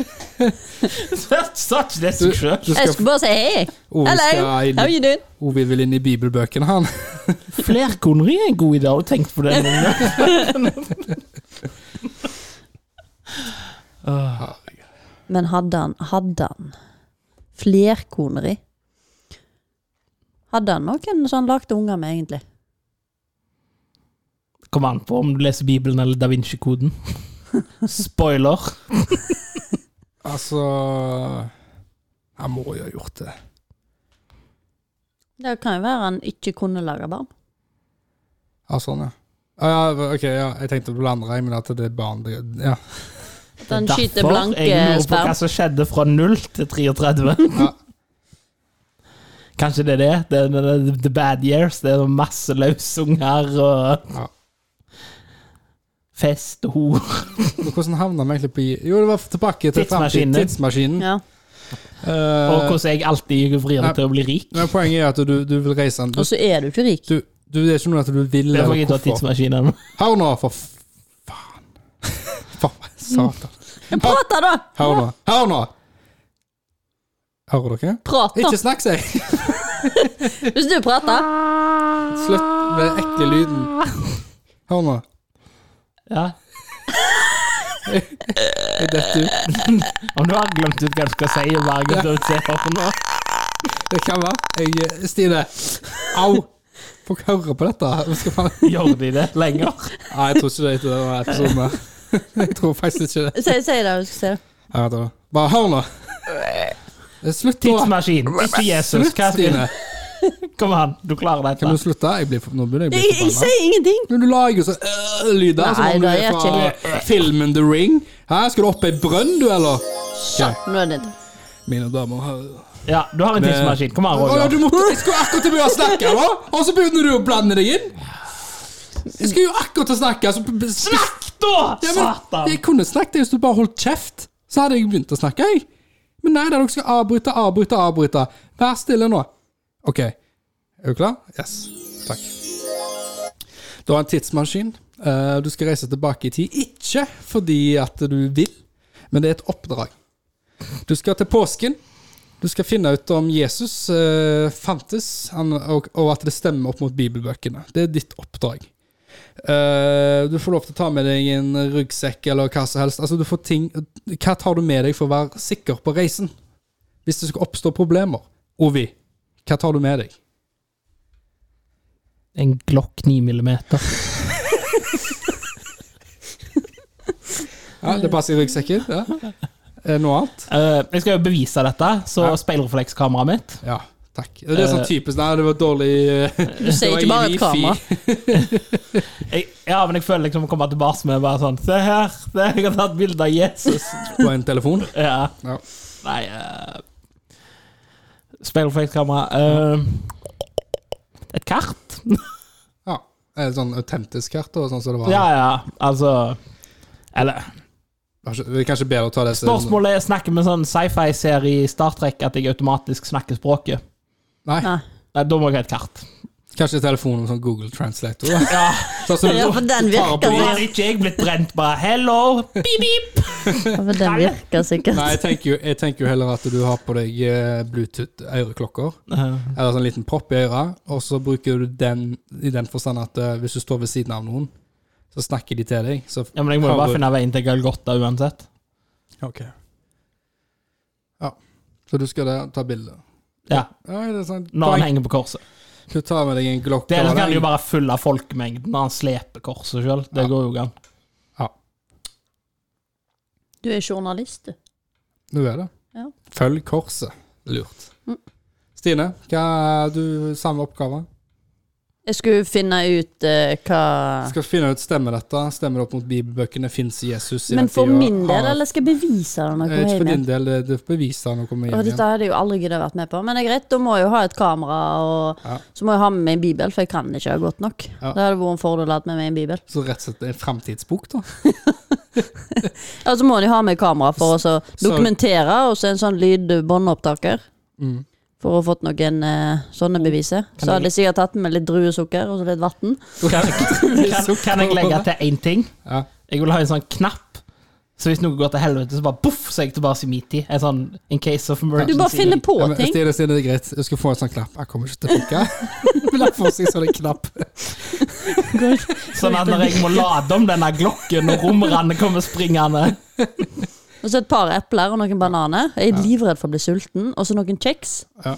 Speaker 3: Such det seg sjøl.
Speaker 2: Du
Speaker 1: Jeg
Speaker 2: skal,
Speaker 1: skulle bare si hei.
Speaker 2: Ove skal
Speaker 1: Hello,
Speaker 2: inn-
Speaker 1: how you doing?
Speaker 2: Ovid vil inn i bibelbøkene, han. [laughs]
Speaker 3: Flerkoneri er en god idé, har du tenkt på det?
Speaker 1: Men hadde han, hadde han flerkoneri? Hadde han noen som han lagde unger med, egentlig?
Speaker 3: Kom an på om du leser Bibelen eller Da Vinci-koden. Spoiler.
Speaker 2: Altså Han må jo ha gjort det.
Speaker 1: Det kan jo være han ikke kunne lage barn.
Speaker 2: Ja, sånn, ja. Ja, ja, ok, ja. Jeg tenkte på det andre, jeg, men at det er barn det, ja.
Speaker 1: At han skyter
Speaker 3: Derfor
Speaker 1: blanke
Speaker 3: jeg lurer på hva
Speaker 1: sperm.
Speaker 3: som skjedde fra 0 til 33.
Speaker 2: Ja.
Speaker 3: Kanskje det er det? Det er det er the bad years. Det er masse løsunger og
Speaker 2: Ja.
Speaker 3: fest og hor.
Speaker 2: Men Hvordan havna vi egentlig på Jo, det var tilbake til
Speaker 3: Tidsmaskinen.
Speaker 2: fremtiden. Tidsmaskinen.
Speaker 1: Ja.
Speaker 2: Eh,
Speaker 3: Og hvordan jeg alltid vrir det til å bli rik.
Speaker 2: men poenget er at du, du vil reise en du,
Speaker 1: Og så er du ikke rik.
Speaker 2: du, du, Det er ikke noe at du vil
Speaker 3: Det får
Speaker 2: eller
Speaker 3: jeg ta
Speaker 2: hvorfor.
Speaker 3: tidsmaskinen.
Speaker 2: Hør nå, for f- [laughs] faen. Faen, satan.
Speaker 1: Men prat da, da!
Speaker 2: Hør nå. Hør nå! Hører dere?
Speaker 1: Prat, da!
Speaker 2: Ikke snakk, sier jeg. [laughs]
Speaker 1: Hvis du prater.
Speaker 2: Slutt med den ekle lyden. Hør nå.
Speaker 3: Ja.
Speaker 2: Jeg detter ut.
Speaker 3: Om du har glemt ut hva du skal si, bare gå ut og se på nå.
Speaker 2: Det kan være. Jeg, eh, Stine. Au! Folk hører på dette. Hva skal man...
Speaker 3: Gjør de det lenger?
Speaker 2: Nei, jeg tror ikke det etter denne episoden. her. [laughs] Jeg tror faktisk ikke det.
Speaker 1: Si, si det du skal si. det.
Speaker 2: Jeg vet det. Bare hør nå. Det er Slutt nå.
Speaker 3: Tidsmaskin, ikke Jesus.
Speaker 2: Slutt,
Speaker 3: Hva skal
Speaker 2: Stine.
Speaker 3: Kom an, du klarer
Speaker 2: Kan
Speaker 3: dette.
Speaker 2: du slutte? Jeg blir, for- nå begynner jeg å
Speaker 1: Jeg,
Speaker 2: bli
Speaker 1: jeg
Speaker 2: forbanna.
Speaker 1: sier ingenting!
Speaker 2: Men du lager jo sånn øh, lyder som
Speaker 1: Nei,
Speaker 2: om du
Speaker 1: det
Speaker 2: er
Speaker 1: er
Speaker 2: fra øh, filmen The Ring. Hæ? Skal du opp i en brønn, du, eller? Ok,
Speaker 1: Nå er det
Speaker 2: Mine damer og herrer.
Speaker 3: Ja, du har en tidsmaskin. Kom an,
Speaker 2: Å, ja,
Speaker 3: Roger.
Speaker 2: du måtte, jeg skulle akkurat til å begynne å snakke, da! Og så begynner du å blande deg inn! Jeg skulle jo akkurat til å snakke, så
Speaker 3: Snakk, da!
Speaker 2: Ja, men,
Speaker 3: Satan!
Speaker 2: Jeg kunne snakket hvis du bare holdt kjeft. Så hadde jeg begynt å snakke, jeg. Men nei, da dere skal avbryte, avbryte, avbryte. Vær stille nå. OK. Er du klar? Yes. Takk. Du har en tidsmaskin. Eh, Du skal reise tilbake i tid. Ikke fordi at du vil, men det er et oppdrag. Du skal til påsken. Du skal finne ut om Jesus eh, fantes, han, og, og at det stemmer opp mot bibelbøkene. Det er ditt oppdrag. Eh, du får lov til å ta med deg en ryggsekk eller hva som helst. Altså, du får ting, hva tar du med deg for å være sikker på reisen? Hvis det skal oppstå problemer. Ovi, hva tar du med deg?
Speaker 3: En Glock 9 millimeter.
Speaker 2: Ja, det passer i ryggsekken. Ja. Eh, Noe annet?
Speaker 3: Eh, jeg skal jo bevise dette, så
Speaker 2: Ja.
Speaker 3: speilreflekskameraet mitt
Speaker 2: Ja, takk. Det er
Speaker 3: Eh.
Speaker 2: sånn typisk Nei, det var dårlig eh,
Speaker 1: Du sier
Speaker 2: det var
Speaker 1: ikke bare
Speaker 2: i
Speaker 1: et
Speaker 2: wifi.
Speaker 1: kamera.
Speaker 3: jeg, Ja, men jeg føler liksom å komme tilbake med bare sånn Se her, det, jeg har tatt bilde av Jesus.
Speaker 2: På en telefon?
Speaker 3: Ja.
Speaker 2: Ja.
Speaker 3: Nei uh, Speilreflekskamera. eh, et kart?
Speaker 2: ja. Eh, Sånn autentisk kart, og sånn som det var.
Speaker 3: Ja, ja, altså Eller
Speaker 2: Kanskje- Det er kanskje bedre å ta det som-
Speaker 3: Spørsmålet er snakker med sånn sci-fi-serie i Star Trek at jeg automatisk snakker språket.
Speaker 2: Nei,
Speaker 1: Nei.
Speaker 3: Nei, da må jeg ha et kart.
Speaker 2: kanskje telefonen med sånn Google Translator.
Speaker 3: Ja,
Speaker 2: Sånn som
Speaker 1: Ja, for den virker
Speaker 2: Paraply.
Speaker 3: Da hadde ikke jeg blitt brent bare Hello, Eh, beep, beep.
Speaker 1: Ja, for Den virker sikkert.
Speaker 2: Nei, jeg tenker, jo, jeg tenker jo heller at du har på deg eh, Bluetooth-øreklokker, eller sånn liten propp i øret, og så bruker du den i den forstand at eh, hvis du står ved siden av noen, så snakker de til deg. Så
Speaker 3: Ja, men jeg må jo
Speaker 2: har du-
Speaker 3: bare finne veien til Galgotta uansett.
Speaker 2: Ok. Ja. Så du skal der, ta bilde.
Speaker 3: Ja,
Speaker 2: Ja, det er sånn.
Speaker 3: Når han
Speaker 2: Poeng.
Speaker 3: henger på korset.
Speaker 2: Du tar med deg en glokk.
Speaker 3: Det ellers
Speaker 2: og
Speaker 3: kan han
Speaker 2: den-
Speaker 3: jo bare fylle folkemengden når han sleper korset sjøl. Det
Speaker 2: Ja.
Speaker 3: går jo ikke an.
Speaker 2: Ja,
Speaker 1: Du er journalist, du.
Speaker 2: du er det.
Speaker 1: Ja.
Speaker 2: Følg korset. Lurt.
Speaker 1: Mm.
Speaker 2: Stine, hva du samme oppgave?
Speaker 1: Jeg skulle finne ut eh, hva
Speaker 2: Skal finne ut stemmer dette. Stemmer det opp mot bibelbøkene? Fins Jesus i
Speaker 1: Men
Speaker 2: den
Speaker 1: for
Speaker 2: tida?
Speaker 1: min del,
Speaker 2: Har-
Speaker 1: eller skal jeg bevise det når
Speaker 2: Eh,
Speaker 1: jeg
Speaker 2: Ikke
Speaker 1: kommer
Speaker 2: for
Speaker 1: hjem
Speaker 2: din
Speaker 1: igjen?
Speaker 2: del, det, det beviser han å komme
Speaker 1: Å,
Speaker 2: hjem
Speaker 1: dette
Speaker 2: igjen.
Speaker 1: hadde jeg jo aldri giddet å vært med på. Men det er greit, da må jeg jo ha et kamera, og
Speaker 2: Ja.
Speaker 1: så må jeg ha med meg en bibel, for jeg kan ikke ha godt nok.
Speaker 2: Ja.
Speaker 1: Det hadde vært en fordel å ha med meg en bibel.
Speaker 2: Så rett og slett en framtidsbok, da.
Speaker 1: Ja,
Speaker 2: Mm.
Speaker 1: så må de ha med kamera for å så dokumentere, og så en sånn lydbåndopptaker. for å ha fått noen eh,
Speaker 2: Oh.
Speaker 1: sånne beviser.
Speaker 3: Kan
Speaker 1: Så
Speaker 3: jeg-
Speaker 1: hadde jeg sikkert tatt den med litt druesukker og så litt vann.
Speaker 3: Kan, kan, kan jeg legge til én ting?
Speaker 2: Ja.
Speaker 3: Jeg vil ha en sånn knapp. Så hvis noe går til helvete, så bare boff, så er jeg tilbake i min tid. En sånn in case of
Speaker 1: Du
Speaker 3: emergency.
Speaker 1: bare finner på
Speaker 2: Ja, men
Speaker 1: ting.
Speaker 2: Stine, Stine, det er greit. Jeg skal få en sånn klapp. Jeg kommer ikke til å funke.
Speaker 1: [laughs]
Speaker 2: Men jeg får seg sånn en knapp.
Speaker 3: Sånn at når jeg må lade om denne glokken, og romerne kommer springende
Speaker 1: Og så et par epler og noen bananer. Jeg er livredd for å bli sulten. Og så noen kjeks.
Speaker 2: Ja.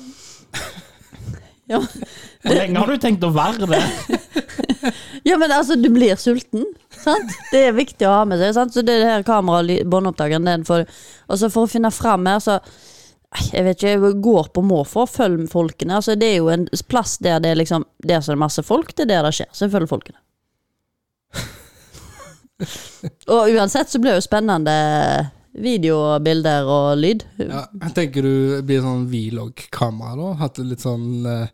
Speaker 1: Ja, [laughs]
Speaker 3: Hvor lenge har du tenkt å være det?
Speaker 1: ja, men altså, du blir sulten. Sant? Det er viktig å ha med seg. Sant? Så det er det her kamera- og ly- båndopptakeren den får du. Og så for å finne fram her, så Nei, Jeg vet ikke, jeg går på måfå. Følg folkene. Altså, det er jo en plass der det er liksom Der som det er masse folk, det er der det skjer. Så jeg følger folkene. Og uansett så blir det jo spennende videobilder og lyd.
Speaker 2: Ja, jeg tenker du blir sånn vlog-kamera, da. Hatt det litt sånn eh, [laughs]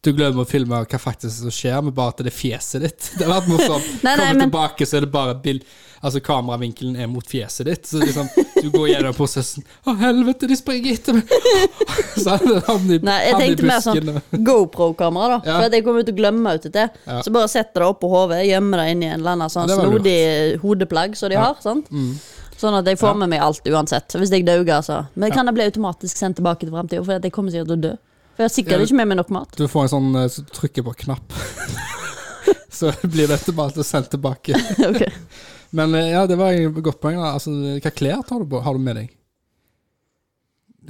Speaker 2: Du glemmer å filme hva faktisk som skjer, men bare at det er fjeset ditt. Det hadde vært morsomt.
Speaker 1: [laughs] Nei, nei,
Speaker 2: Kommer
Speaker 1: men-
Speaker 2: tilbake, så er det bare bild... Altså, kameravinkelen er mot fjeset ditt. Så liksom, du går gjennom prosessen. Å, helvete, de springer etter meg! [laughs] Så havner de
Speaker 1: Nei, jeg
Speaker 2: havner i
Speaker 1: tenkte mer sånn
Speaker 2: busken, og-
Speaker 1: GoPro-kamera, da.
Speaker 2: Ja.
Speaker 1: For at jeg kommer til å glemme ut dette.
Speaker 2: Ja.
Speaker 1: Så bare setter det opp på hodet, gjemmer det inn i en eller annen sånn
Speaker 2: Ja, det var lurt.
Speaker 1: snodig hodeplagg som de
Speaker 2: Ja. Mm.
Speaker 1: har. sant? Sånn at jeg får med meg alt uansett. Hvis jeg dauger, så. Men kan det bli automatisk sendt tilbake til framtida, for at jeg kommer sikkert til å dø. For jeg har
Speaker 2: Ja,
Speaker 1: sikkert ikke med meg nok mat.
Speaker 2: Du får en sånn eh, Så du trykker på knapp. [laughs] så blir dette bare til å sende tilbake.
Speaker 1: Ok.
Speaker 2: Men eh, ja, det var et godt poeng. da. Altså, hva klær tar du på, har du med deg?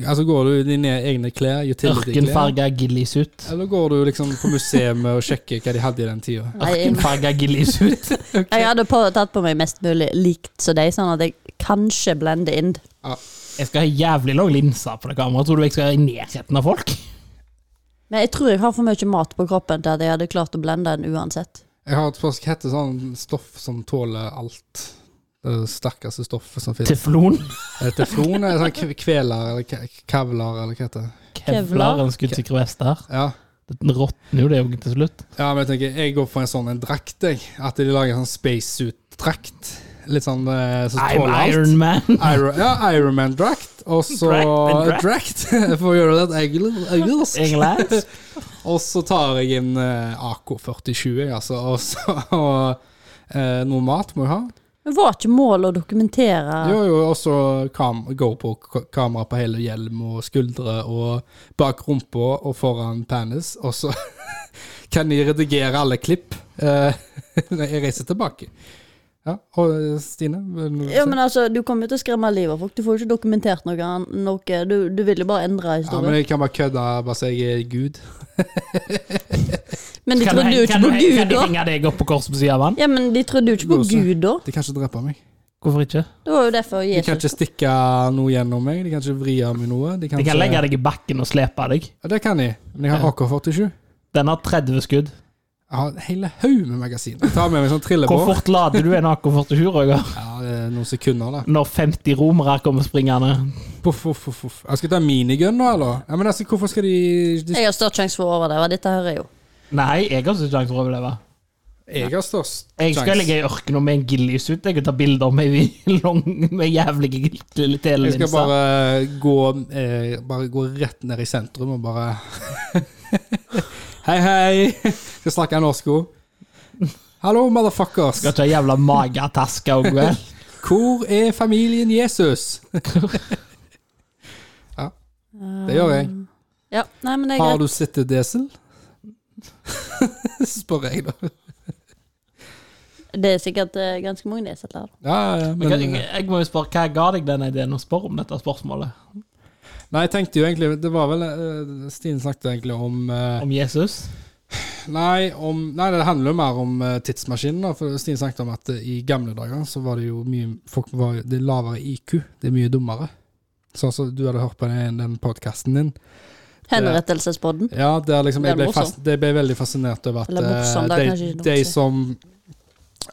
Speaker 2: Altså, Går du i dine egne klær? Utility-klær?
Speaker 3: Ørkenfarga gillisut.
Speaker 2: Eller går du liksom på museet og sjekker hva de hadde i den tida?
Speaker 1: Nei, jeg-
Speaker 3: Ørkenfarga gillisut.
Speaker 1: Jeg hadde på, tatt på meg mest mulig likt som deg, sånn at jeg kanskje blender inn.
Speaker 3: Jeg skal ha jævlig lang linse på det kameraet. Tror du jeg skal være i nærheten av folk?
Speaker 1: Men jeg tror jeg har for mye mat på kroppen til at jeg hadde klart å blende den uansett.
Speaker 2: Jeg har et forsk hette sånn stoff som tåler alt. Det er det sterkeste stoffet som finnes.
Speaker 3: Teflon?
Speaker 2: Eh, Teflon er sånn kve- kveler eller ke- kavler eller hva heter det.
Speaker 1: Kevlar.
Speaker 3: Kevlar en skuddsikker vest der.
Speaker 2: Ja.
Speaker 3: Den råtner jo det jo til slutt.
Speaker 2: ja, men jeg tenker, jeg går for en sånn en drakt, jeg. At de lager en sånn spacesuit-drakt. Litt sånn eh, som
Speaker 3: I'm
Speaker 2: tåler alt.
Speaker 3: Iron Man.
Speaker 2: Iron, ja, Ironman-drakt, og så
Speaker 3: Drakt and
Speaker 2: Drakt, [laughs] for å gjøre det et engel- engelsk.
Speaker 3: [laughs] England.
Speaker 2: Og så tar jeg en eh, AK-47, jeg, altså, og så og, eh, Noe mat må jeg ha.
Speaker 1: Men var ikke målet å dokumentere
Speaker 2: Jo, jo, og så kam GoPro-kamera på hele hjelm og skuldre og bak rumpa og foran penis, og så [laughs] kan de redigere alle klipp. Eh, [laughs] Nei, jeg reiser tilbake. Ja, og eh, Stine? vil du
Speaker 1: Ja,
Speaker 2: si?
Speaker 1: men altså, Du kommer jo til å skremme livet av folk. Du får jo ikke dokumentert noe. an- noe. Du, du vil jo bare endre
Speaker 2: ja,
Speaker 1: historien.
Speaker 2: men jeg kan bare kødde bare si jeg er gud.
Speaker 1: men, de
Speaker 3: Kan
Speaker 1: trodde
Speaker 3: du-
Speaker 1: jo ikke
Speaker 3: kan
Speaker 1: på
Speaker 3: du-
Speaker 1: Gud,
Speaker 3: Kan de
Speaker 1: da.
Speaker 3: henge deg opp på korset på siden av han?
Speaker 1: Ja, men De trodde jo ikke på
Speaker 2: Blåse.
Speaker 1: Gud, da.
Speaker 2: De kan ikke drepe meg.
Speaker 3: Hvorfor ikke?
Speaker 1: Det var jo derfor
Speaker 2: De kan
Speaker 1: Jesus
Speaker 2: ikke stikke noe gjennom meg, de kan ikke vri av meg noe. De kan
Speaker 3: De kan
Speaker 2: ikke-
Speaker 3: legge deg i bakken og slepe deg.
Speaker 2: Ja, det kan de, men jeg har AK-47.
Speaker 3: Den har 30 skudd.
Speaker 2: Jeg har en hele haug med magasin. Jeg tar med meg sånn
Speaker 3: Hvor
Speaker 2: trillebår.
Speaker 3: fort lader du en AK-47, Roger?
Speaker 2: Ja, det er noen sekunder, da.
Speaker 3: Når 50 romere kommer springende?
Speaker 2: Poff, poff, poff, poff. Jeg skal ta minigun nå, eller? Ja, men altså, hvorfor skal de, de
Speaker 1: Jeg har størst sjanse for å overdøve. Dette hører jeg jo.
Speaker 3: Nei, jeg har ikke sjanse for å overleve.
Speaker 2: Jeg har størst
Speaker 3: Jeg skal
Speaker 2: sjans.
Speaker 3: ligge i ørkenen med en gillisut Jeg og ta bilder med, [laughs] lang, med jævlige lille
Speaker 2: Jeg skal
Speaker 3: telelinser.
Speaker 2: bare gå, eh, bare gå rett ned i sentrum og bare [laughs] Hei, hei! [laughs] Skal snakke norsk ord. Hallo, motherfuckers.
Speaker 3: Skal ikke ha jævla magetaske og vel.
Speaker 2: Hvor er familien Jesus? ja, det gjør jeg.
Speaker 1: Ja, nei, men det er
Speaker 2: Har
Speaker 1: greit.
Speaker 2: du sett det, Desel? [laughs] Spør jeg, da.
Speaker 1: Det er sikkert eh, ganske mange det sitter der.
Speaker 2: Ja, ja,
Speaker 3: [laughs] Men,
Speaker 2: men,
Speaker 3: jeg, jeg må jo spørre, hva ga deg den ideen å spørre om dette spørsmålet?
Speaker 2: nei, jeg tenkte jo egentlig Det var vel eh, Stine snakket egentlig om eh,
Speaker 3: Om Jesus?
Speaker 2: Nei, om, nei det handler jo mer om eh, tidsmaskinen. da, For Stine snakket om at eh, i gamle dager så var det jo mye Folk var det er lavere IQ. Det er mye dummere. Sånn som du hadde hørt på den, den podkasten din.
Speaker 1: Henrettelsespodden.
Speaker 2: Ja, det er liksom,
Speaker 1: Det er
Speaker 2: jeg ble,
Speaker 1: morsomt.
Speaker 2: fas, det ble veldig fascinert over at
Speaker 1: Eller morsomt, det er
Speaker 2: eh,
Speaker 1: kanskje
Speaker 2: de,
Speaker 1: ikke noe
Speaker 2: de
Speaker 1: å si.
Speaker 2: som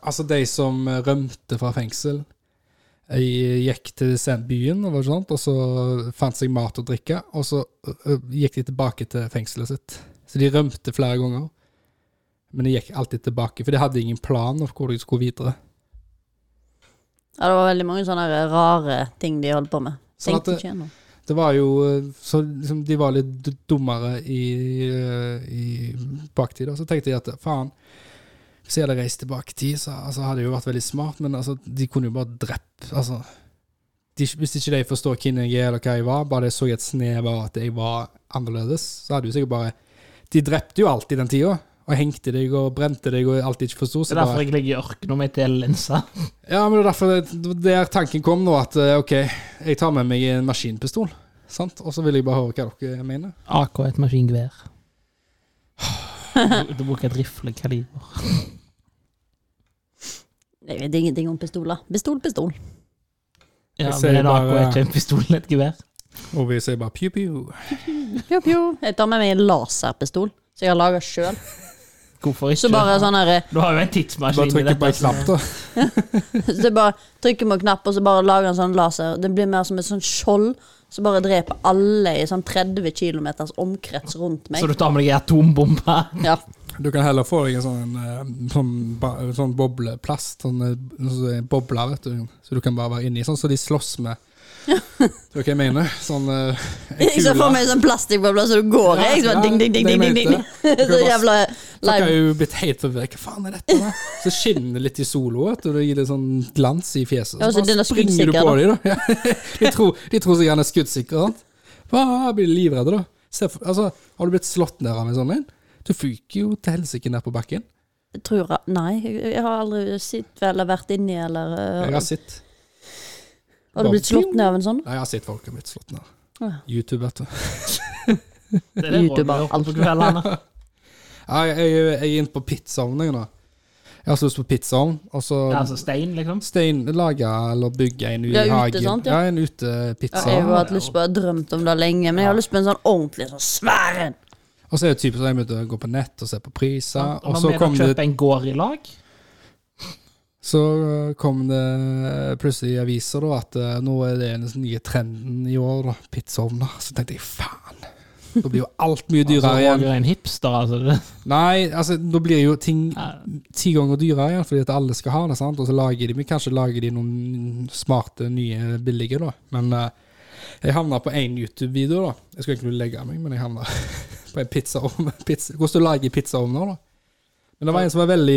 Speaker 2: Altså, de som rømte fra fengsel, eh, gikk til sen- byen, og, sånt, og så fant seg mat og drikke, og så eh, gikk de tilbake til fengselet sitt. Så de rømte flere ganger, men de gikk alltid tilbake, for de hadde ingen plan om hvor de skulle videre.
Speaker 1: Ja, Det var veldig mange sånne rare ting de holdt på med.
Speaker 2: Sånn at
Speaker 1: Tenkte
Speaker 2: det-
Speaker 1: ikke gjennom.
Speaker 2: Det var jo Så liksom, de var litt d- dummere i, eh, i baktid. Og så tenkte jeg at faen, hvis jeg hadde reist tilbake i tid, så altså, hadde jeg jo vært veldig smart, men altså, de kunne jo bare drept altså, de, Hvis ikke de forstår hvem jeg er, eller hva jeg var, bare de så et snev av at jeg var annerledes, så hadde jo sikkert bare De drepte jo alltid den tida. Og hengte deg og brente deg og alt de ikke forsto.
Speaker 3: Det er derfor jeg ligger i ørkenen med telelinse.
Speaker 2: Ja, men det er derfor det det er tanken kom nå, at eh, OK, jeg tar med meg en maskinpistol, sant? og så vil jeg bare høre hva dere mener.
Speaker 3: AK er et maskingevær. Du, du bruker et riflekaliber.
Speaker 1: Jeg vet ingenting om pistoler. Pistol, pistol.
Speaker 3: Ja,
Speaker 2: Jeg ser
Speaker 3: men en AK er
Speaker 2: bare-
Speaker 3: ikke en pistol, det er et gevær.
Speaker 2: Og vi sier bare pju-pju.
Speaker 1: Pjo, pjo. Jeg tar med meg en laserpistol som jeg har laga sjøl.
Speaker 3: Hvorfor ikke?
Speaker 1: Så bare sånn her
Speaker 3: Du har jo en
Speaker 2: Bare
Speaker 3: tidsmaskin i
Speaker 2: trykker på en
Speaker 3: dette.
Speaker 2: knapp,
Speaker 1: altså.
Speaker 2: da.
Speaker 1: Så jeg bare trykker på en knapp, og så bare lager en sånn laser. Det blir mer som et sånn skjold som bare dreper alle i sånn 30 km omkrets rundt meg.
Speaker 3: Så du tar med deg en atombombe?
Speaker 2: [laughs]
Speaker 1: Ja.
Speaker 2: Du kan heller få deg en sånn, eh, sånn, ba- sånn bobleplast, sånn eh, sånn som er bobler, vet du. Så du kan bare være inni, sånn som de slåss med. Tror du hva jeg mener? Sånn eh,
Speaker 1: [laughs]
Speaker 2: en
Speaker 1: Jeg ser for
Speaker 2: kule.
Speaker 1: meg en eh, sånn plastikkboble så du går i.
Speaker 2: Ja,
Speaker 1: ikke sant?
Speaker 2: ja,
Speaker 1: Ding, ding, ding,
Speaker 2: det
Speaker 1: ding, ding,
Speaker 2: mente
Speaker 1: ding.
Speaker 2: jeg.
Speaker 1: [laughs] Så
Speaker 2: Du kan bare
Speaker 1: jævla
Speaker 2: Så har
Speaker 1: live.
Speaker 2: jeg jo blitt helt forvirret. Hva faen er dette? da? Så skinner det litt i sola, vet du. Det gir litt sånn glans i fjeset.
Speaker 1: Ja, så den er skuddsikker,
Speaker 2: på dem, da. Ja. De tror, de tror sikkert han er skuddsikker. Sant? Hva, blir de livredde, da? Se, for- altså, har du blitt slått ned av en sånn en? Du fyker jo til helsike ned på bakken.
Speaker 1: Jeg tror jeg- Nei, jeg jeg har aldri sett eller vært inni eller
Speaker 2: Jeg
Speaker 1: øh,
Speaker 2: har sett
Speaker 1: Har du blitt slått ned av en sånn?
Speaker 2: Nei, jeg har sett folk som har blitt slått ned.
Speaker 1: Ja.
Speaker 2: YouTube, vet du.
Speaker 3: Det er det
Speaker 1: YouTuber,
Speaker 3: Roger gjør
Speaker 1: alt.
Speaker 3: på kveldene.
Speaker 1: [laughs]
Speaker 2: Ja, Jeg, jeg, jeg er inne på pizzaovnen, jeg, nå. Jeg har så lyst på pizzaovn, og så
Speaker 3: Det er altså stein, liksom.
Speaker 2: stein, lage eller bygge en i
Speaker 1: Ja, ute,
Speaker 2: hagen.
Speaker 1: sant,
Speaker 2: ja.
Speaker 1: ja.
Speaker 2: en utepizza.
Speaker 1: Ja, jeg har hatt lyst på, jeg har drømt om det lenge, men jeg har lyst på en sånn ordentlig sånn svær en.
Speaker 2: Og så er det typisk at jeg begynte å gå på nett og se på priser,
Speaker 3: Og
Speaker 2: og
Speaker 3: når
Speaker 2: så
Speaker 3: vi da
Speaker 2: kom,
Speaker 3: kjøper
Speaker 2: det,
Speaker 3: en gård i lag
Speaker 2: så øh, kom det plutselig i aviser da, at øh, nå er det den nye trenden i år, da, pizzaovner. Så tenkte jeg faen, da blir jo alt mye
Speaker 3: [laughs] altså,
Speaker 2: dyrere
Speaker 3: Roger
Speaker 2: igjen.
Speaker 3: er en hipster, altså. Det,
Speaker 2: Nei, altså da blir jo ting
Speaker 3: ja.
Speaker 2: ti ganger dyrere igjen, fordi at alle skal ha det, sant? og så lager de, men kanskje lager de noen smarte, nye, billige da. Men eh, jeg havna på en YouTube-video da. Jeg skulle egentlig legge meg, men jeg havna [laughs] på en pizzaovn. [laughs] Pizza. Hvordan du lager pizzaovner da. Men det var en som var veldig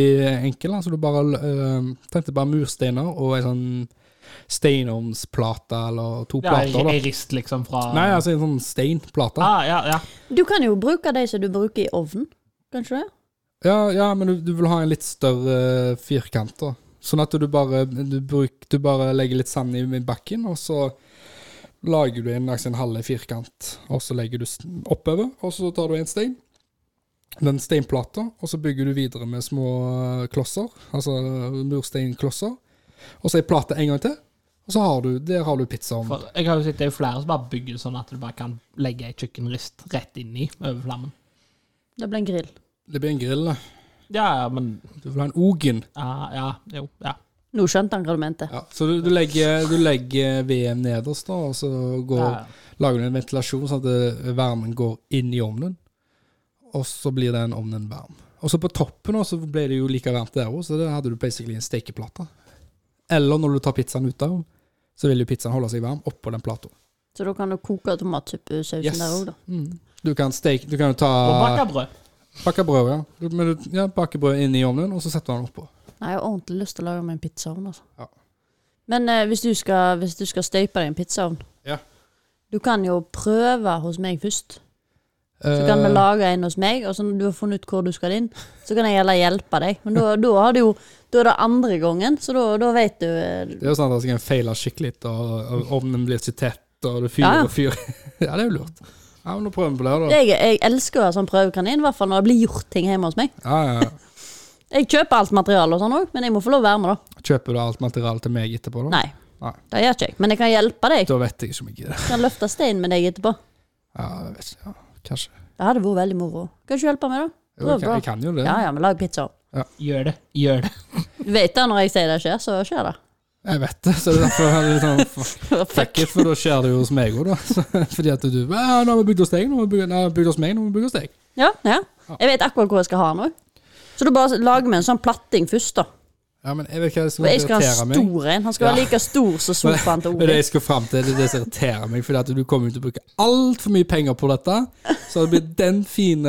Speaker 2: enkel, da, så du bare eh, trengte bare mursteiner og en sånn steinovnsplate eller to
Speaker 3: det er
Speaker 2: plater da.
Speaker 3: ei rist, liksom, fra
Speaker 2: Nei, altså en sånn steinplate.
Speaker 3: ah, ja, ja.
Speaker 1: Du kan jo bruke de som du bruker i ovnen, kanskje? det?
Speaker 2: Ja, ja men du, du vil ha en litt større eh, firkant, da. Sånn at du bare, du bruk, du bare legger litt sand i, i bakken, og så lager du en, langs en halve firkant. Og så legger du s- oppover, og så tar du en stein. Den steinplata, og så bygger du videre med små eh, klosser, altså eh, mursteinklosser. Og så ei plate en gang til, og så har du, der har du pizzaovnen.
Speaker 3: For jeg har jo sett det er jo flere som bare bygger sånn at du bare kan legge ei kjøkkenrist rett inni over flammen.
Speaker 1: Det ble en grill.
Speaker 2: Det blir en grill, da.
Speaker 3: Ja, ja, men
Speaker 2: Du vil ha en ogen.
Speaker 3: ah, Ja, jo. Ja.
Speaker 1: Nå skjønte han hva du mente.
Speaker 2: Ja, så du, du, legger, du legger veden nederst, da, og så går
Speaker 3: Ja,
Speaker 2: lager du en ventilasjon sånn at eh, varmen går inn i ovnen, og så blir den ovnen varm. Og så på toppen også, så ble det jo like varmt der òg, så det hadde du basically en stekeplate. Eller når du tar pizzaen ut av, så vil jo pizzaen holde seg varm oppå den plata.
Speaker 1: Så da kan du koke tomatsausen
Speaker 2: Yes.
Speaker 1: der òg, da.
Speaker 2: Du kan steke Du kan jo ta
Speaker 3: Og bake brød.
Speaker 2: Bakke brød, ja. Du- Men du ja, baker brød inn i ovnen, og så setter du den oppå.
Speaker 1: Nei, jeg har ordentlig lyst til å lage meg en pizzaovn, altså.
Speaker 2: Ja.
Speaker 1: Men eh, hvis, du skal, hvis du skal støype deg en pizzaovn
Speaker 2: Ja.
Speaker 1: Du kan jo prøve hos meg først. Så kan vi
Speaker 2: Eh,
Speaker 1: lage en hos meg, og så når du har funnet ut hvor du skal inn, så kan jeg heller hjelpe deg. Men da, da, har du jo, da er det andre gangen, så da, da vet du eh,
Speaker 2: Det er jo sånn at en feiler skikkelig, og, og ovnen blir ikke tett, og du fyrer
Speaker 1: Ja.
Speaker 2: og fyrer. [laughs] ja, det er jo lurt. Ja, men da prøver vi på det, da.
Speaker 1: jeg, jeg elsker å ha sånn prøvekanin, i hvert fall når det blir gjort ting hjemme hos meg.
Speaker 2: Ja, ja, ja.
Speaker 1: Jeg kjøper alt materiale og sånn òg, men jeg må få lov å være med, da.
Speaker 2: Kjøper du alt materialet til meg etterpå, da?
Speaker 1: Nei,
Speaker 2: Nei.
Speaker 1: det gjør ikke jeg. Men jeg kan hjelpe deg.
Speaker 2: Da vet jeg ikke om jeg gidder.
Speaker 1: Jeg kan løfte stein med deg etterpå.
Speaker 2: Ja, jeg vet ikke. Ja, kanskje.
Speaker 1: Det hadde vært veldig moro. Kan ikke du hjelpe meg, da? Det
Speaker 2: Jo, jeg,
Speaker 1: var
Speaker 2: kan,
Speaker 1: bra.
Speaker 2: jeg kan jo det.
Speaker 1: Ja ja, men lag pizza.
Speaker 3: Gjør det. Gjør det.
Speaker 1: Du vet det når jeg sier det skjer, så skjer det. [laughs]
Speaker 2: Jeg vet det, så det er derfor jeg er litt sånn fuck
Speaker 1: Fuck.
Speaker 2: it, for da skjer det jo hos meg òg, da. [laughs] Så, fordi at du ja, 'Nå har vi bygd oss deg, nå har vi bygd- nå har vi bygd oss meg, nå har vi bygd oss deg'.
Speaker 1: Ja, ja. Jeg vet akkurat hvor jeg skal ha den òg. Så du bare lager vi en sånn platting først, da.
Speaker 2: Ja, men jeg vet ikke hva det som
Speaker 1: For jeg skal ha
Speaker 2: irriterer
Speaker 1: en
Speaker 2: meg.
Speaker 1: stor en. Han skal være
Speaker 2: Ja.
Speaker 1: like stor som sofaen til
Speaker 2: [laughs] Men det
Speaker 1: Ori.
Speaker 2: jeg skal frem til, det er det som irriterer meg, fordi at du kommer jo til å bruke altfor mye penger på dette. Så det blir den fine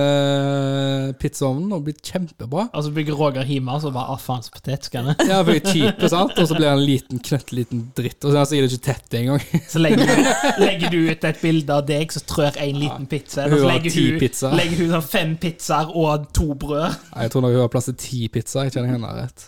Speaker 2: eh, pizzaovnen og blir kjempebra.
Speaker 3: Og så bygger Roger hjemme, og så bare ah, faen, så potetskalle.
Speaker 2: Ja, for jeg er kjipe, sant? Og så blir han en liten, knøttliten dritt. Og så er han sikkert ikke tett engang.
Speaker 3: Så legger du, legger du ut et bilde av deg som trør en liten pizza. Og
Speaker 2: Hun
Speaker 3: så
Speaker 2: har
Speaker 3: legger
Speaker 2: ti
Speaker 3: hun,
Speaker 2: pizzaer.
Speaker 3: legger hun sånn fem pizzaer og to brød.
Speaker 2: Nei, Jeg tror nok hun har plass til ti pizzaer. Jeg kjenner henne rett.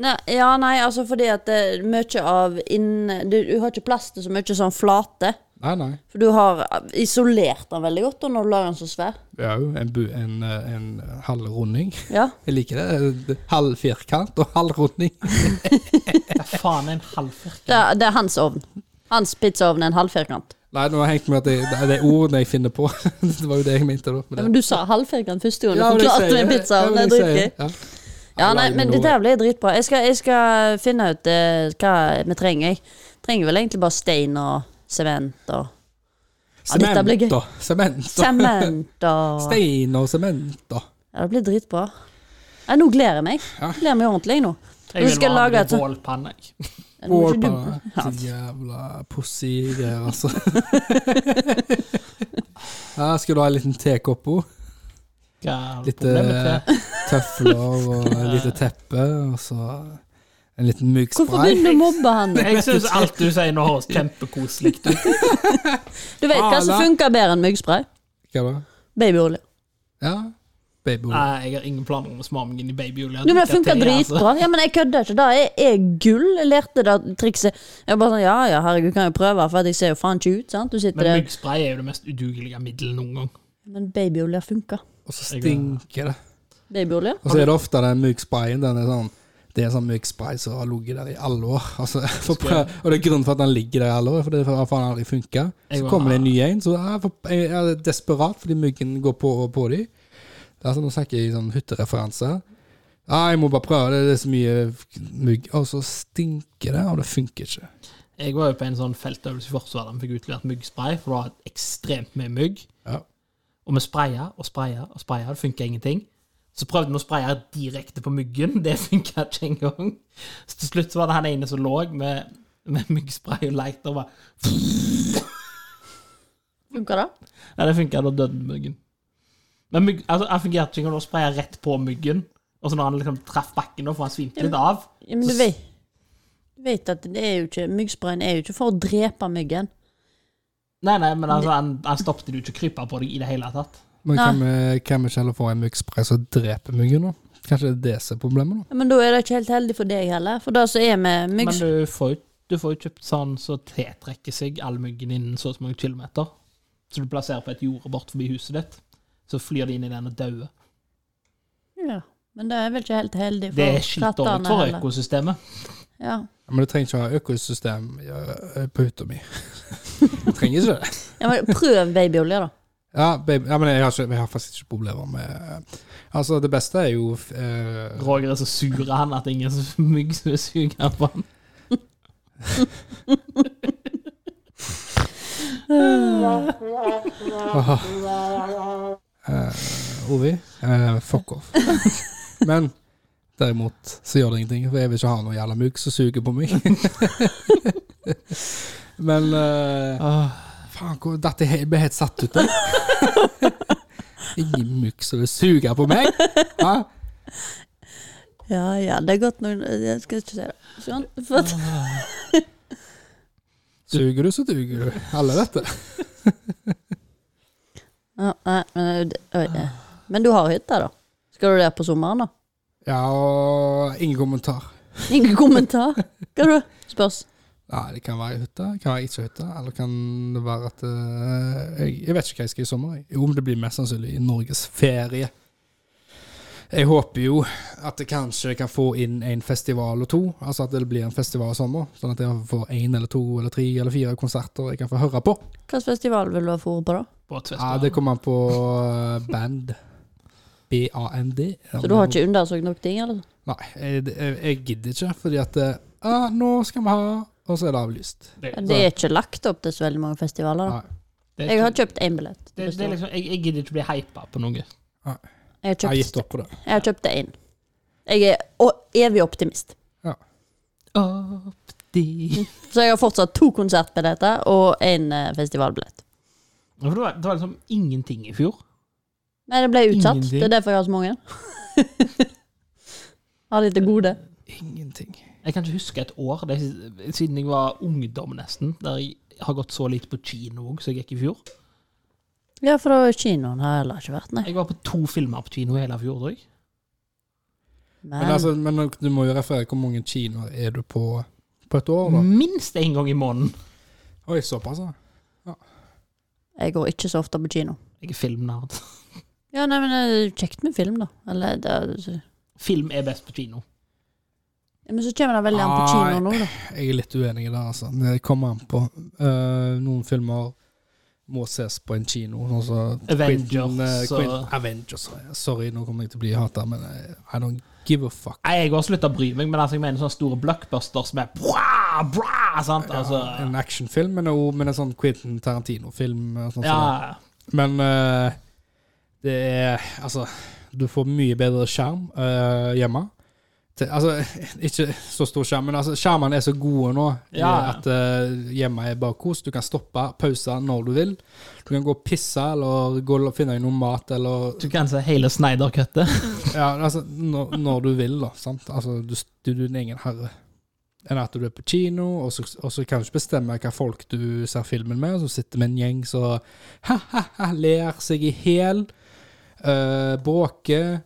Speaker 1: Nei, ja, nei, altså fordi at det, mye av inn... Du, du har ikke plass til så mye sånn flate.
Speaker 2: Nei, nei.
Speaker 1: For du har eh, isolert den veldig godt da, når du lager den så svær.
Speaker 2: Vi har jo en, bu en, eh, en halvrunding.
Speaker 1: Ja.
Speaker 2: Jeg liker det. Halv firkant og halvrunding.
Speaker 3: Hva faen er en halvfirkant?
Speaker 1: Det er, det er hans ovn. Hans pizzaovn er en halvfirkant.
Speaker 2: Nei, nå har jeg hengt med at det, det er ordene jeg finner på. [laughs] Det var jo det jeg mente. da. med
Speaker 1: Ja,
Speaker 2: det.
Speaker 1: men du sa halvfirkant første gang du
Speaker 2: Ja, men jeg
Speaker 1: forklarte
Speaker 2: sier-
Speaker 1: meg pizzaovn. Det
Speaker 2: ja, men
Speaker 1: er
Speaker 2: jeg
Speaker 1: dritgøy.
Speaker 2: sier- ja.
Speaker 1: Ja, nei, men dette her blir dritbra. Jeg skal, jeg skal finne ut eh, hva vi trenger. Jeg trenger vel egentlig bare stein og sement og Ja, dette blir gøy.
Speaker 2: Sement og sement og
Speaker 1: Sement og
Speaker 2: [laughs] stein og sement og
Speaker 1: Ja, det blir dritbra. Nei, nå gleder jeg meg. Jeg gleder meg ordentlig jeg, nå.
Speaker 3: Jeg
Speaker 1: Du skal
Speaker 3: vil
Speaker 1: lage
Speaker 3: lage
Speaker 1: et sånn- sånt-
Speaker 3: bålpanne. jeg.
Speaker 1: Nå må ikke du-
Speaker 2: [laughs] Wallpaper. Så Jævla pussy-greier, [laughs] altså. Her skal du ha en liten tekopp òg.
Speaker 3: Hva er
Speaker 2: Litt,
Speaker 3: problemet
Speaker 2: eh, [laughs]
Speaker 3: til?
Speaker 2: Tøfler og et [laughs] lite teppe, og så en liten myk
Speaker 1: Hvorfor
Speaker 2: spray.
Speaker 1: begynner du å mobbe han?
Speaker 3: Jeg syns alt du sier nå høres kjempekoselig
Speaker 2: [laughs]
Speaker 3: ut.
Speaker 1: Du vet hva som
Speaker 2: Ala.
Speaker 1: funker bedre enn myggspray?
Speaker 2: Hva da?
Speaker 1: Babyolje.
Speaker 2: Ja, babyolje.
Speaker 3: Nei, jeg har ingen planer om å smøre meg inn i babyolje.
Speaker 1: Du, men det
Speaker 3: Drikke
Speaker 1: funker
Speaker 3: te,
Speaker 2: altså.
Speaker 1: dritbra. Ja, men jeg kødder ikke. Det er, er gull. Jeg lærte det trikset. Jeg bare sånn, ja ja, herregud, kan jeg prøve, for at jeg ser jo faen ikke ut, sant. Du sitter
Speaker 3: altså- Men
Speaker 1: der.
Speaker 3: myggspray er jo det mest udugelige middelet noen gang.
Speaker 1: Men babyolje funker.
Speaker 2: Og så stinker det.
Speaker 1: Babyolje?
Speaker 2: Og så er det ofte den myk sprayen. Den er sånn det er en sånn myk spray som har ligget der i alle år. [laughs] Altså, for prøv, og det er grunnen for at den ligger der i alle år, for det har faen aldri funka. Så
Speaker 3: Jeg var-
Speaker 2: kommer det en ny en, så jeg, får- jeg er desperat fordi myggen går på og på dem. Det er sånn, Nå snakker jeg i sånn hyttereferanse. Ja, jeg må bare prøve, det, det er så mye mygg. Og så stinker det, og det funker ikke.
Speaker 3: Jeg var jo på en sånn feltøvelse i Forsvaret der vi fikk utlevert myggspray, for det var ekstremt mye mygg.
Speaker 2: Ja.
Speaker 3: Og vi spraya og spraya og spraya, det funka ingenting. Så prøvde vi å spraye direkte på myggen, [laughs] det funka ikke engang. Så til slutt så var det han ene som lå med, med myggspray og lighter og bare
Speaker 1: Funker det?
Speaker 3: Nei, det funka, da døde myggen. Men mygg, altså, han fungerte ikke engang, da spraya rett på myggen. Og så når han liksom traff bakken, da, for han svimte litt av
Speaker 1: Ja, men du vet, du vet at det er jo ikke Myggsprayen er jo ikke for å drepe myggen.
Speaker 3: Nei, nei, men altså, han, han stoppet det jo ikke å krype på deg i det hele tatt.
Speaker 2: Men kan vi, kan vi ikke heller få en myk spray som dreper myggen, da? Kanskje det er det som er problemet, da?
Speaker 1: Ja, men da er det ikke helt heldig for deg heller. For det som er med
Speaker 3: Men
Speaker 1: myggs...
Speaker 3: du får, jo- du får jo kjøpt sånn så tiltrekker seg all myggen innen så og så mange kilometer. Så du plasserer på et jorde bort forbi huset ditt. Så flyr de inn i den og dauer.
Speaker 1: Ja, men det er vel ikke helt heldig
Speaker 3: Det er
Speaker 1: for
Speaker 3: skitdårlig
Speaker 1: kattene
Speaker 3: for
Speaker 1: heller.
Speaker 3: økosystemet.
Speaker 1: Ja.
Speaker 2: Ja, Men du trenger ikke ha økosystem ja, eh, på hytta mi. Du trenger ikke det.
Speaker 1: ja, men prøv babyolje, da. [laughs]
Speaker 2: Ja, babe, ja men jeg har, ikke, jeg har faktisk ikke problemer med Altså, det beste er jo eh,
Speaker 3: Roger er så sur av han at det er ingen som- [laughs] mygg som vil suge han på han.
Speaker 2: Ovi. Eh, fuck off. Men derimot så gjør det ingenting, for jeg vil ikke ha noe jævla mugg som suger på meg. men eh,
Speaker 3: Åh,
Speaker 2: Faen, hvor datt jeg he- ble helt satt ut der. Ingen mugg som vil suge på meg! Hæ?
Speaker 1: Ja ja, det er godt når Jeg skal ikke si det. Sånn. For at,
Speaker 2: Suger du, så duger du. Alle vet det.
Speaker 1: ja, nei, men, det- oi, ja. men du har hytte, da? Skal du der på sommeren, da?
Speaker 2: Ja, og ingen kommentar.
Speaker 1: Ingen kommentar? Hva er det? Spørs.
Speaker 2: Nei, det kan være hytte, det kan være ikke hytte, eller kan det være at eh, jeg, jeg vet ikke hva jeg skal i sommer. jeg. Jo, men det blir mest sannsynlig i Norges ferie. Jeg håper jo at jeg kanskje kan få inn en festival og to, altså at det blir en festival i sommer, sånn at jeg får én eller to eller tre eller fire konserter jeg kan få høre på.
Speaker 1: Hvilken festival vil du ha fôret på, da?
Speaker 2: Ja,
Speaker 3: båtfestival.
Speaker 2: det kommer an på eh, band. B-A-N-D.
Speaker 1: Så du har ikke undersøkt nok ting, eller?
Speaker 2: Nei, jeg, jeg, jeg gidder ikke, fordi at eh, ah, nå skal vi ha Og så er det avlyst.
Speaker 3: Det-
Speaker 1: Det er ikke lagt opp til så veldig mange festivaler.
Speaker 2: Nei.
Speaker 1: Da.
Speaker 3: det er
Speaker 1: Jeg har
Speaker 3: ikke-
Speaker 1: kjøpt én billett. til
Speaker 3: det, det er
Speaker 1: festival.
Speaker 3: liksom, jeg, jeg gidder ikke bli hypa på noe.
Speaker 1: Jeg har
Speaker 2: Jeg har
Speaker 1: kjøpt-
Speaker 2: gitt opp på det.
Speaker 1: jeg har kjøpt én. Jeg er å, evig optimist.
Speaker 3: Opti.
Speaker 1: Så jeg har fortsatt to konsertbilletter og én eh, festivalbillett.
Speaker 3: Ja, for Det var, det var liksom ingenting i fjor.
Speaker 1: Men det ble utsatt.
Speaker 3: Ingenting.
Speaker 1: Det er derfor jeg har så mange. [laughs] har de til gode.
Speaker 2: Ingenting.
Speaker 3: Jeg kan ikke huske et år det, er siden jeg var ungdom, nesten, der jeg har gått så lite på kino òg, som jeg gikk i fjor.
Speaker 1: Ja, for da kinoen har heller ikke vært, nei.
Speaker 3: Jeg var på to filmer på kino hele fjor, tror jeg.
Speaker 1: Men,
Speaker 2: Men, altså, men du må jo referere hvor mange kinoer er du på på et år, da?
Speaker 3: Minst én gang i måneden.
Speaker 2: Oi, såpass, ja.
Speaker 1: jeg går ikke så ofte på kino.
Speaker 3: Jeg er filmnerd.
Speaker 1: Ja, nei, men det er kjekt med film, da. Eller det er, ja,
Speaker 3: Film er best på kino.
Speaker 1: Men så kommer det veldig an på kino nå, da.
Speaker 2: Jeg er litt uenig i det, altså. Det kommer an på. Eh, noen filmer må ses på en kino. sånn som
Speaker 3: Avengers,
Speaker 2: Quentin, eh,
Speaker 3: så-
Speaker 2: Quentin, Avengers. ja. Sorry, nå kommer jeg til å bli hata, men eh, I don't give a fuck.
Speaker 3: Nei, Jeg har slutta å bry meg, men altså, jeg mener sånne store blockbusters med bra, bra, sant? Altså,
Speaker 2: En actionfilm, men også men en sånn Quentin Tarantino-film. eh, Sånn som det.
Speaker 3: ja,
Speaker 2: Men eh, det er Altså, du får mye bedre skjerm eh, hjemme. Til, altså, [laughs] ikke så stor skjerm, men altså, skjermene er så gode nå
Speaker 3: Ja, ja.
Speaker 2: at eh, hjemme er bare kos. Du kan stoppe, pause når du vil. Du kan gå og pisse, eller gå og finne deg noe mat, eller
Speaker 3: du kan se hele Snyder-kuttet.
Speaker 2: ja, altså, når, når du vil, da. Sant? Altså, du, du er din egen herre. Enn at du er på kino, og så, og så kan du ikke bestemme hva folk du ser filmen med, og så sitter med en gjeng som ha-ha-ha ler seg i hæl, eh, bråker,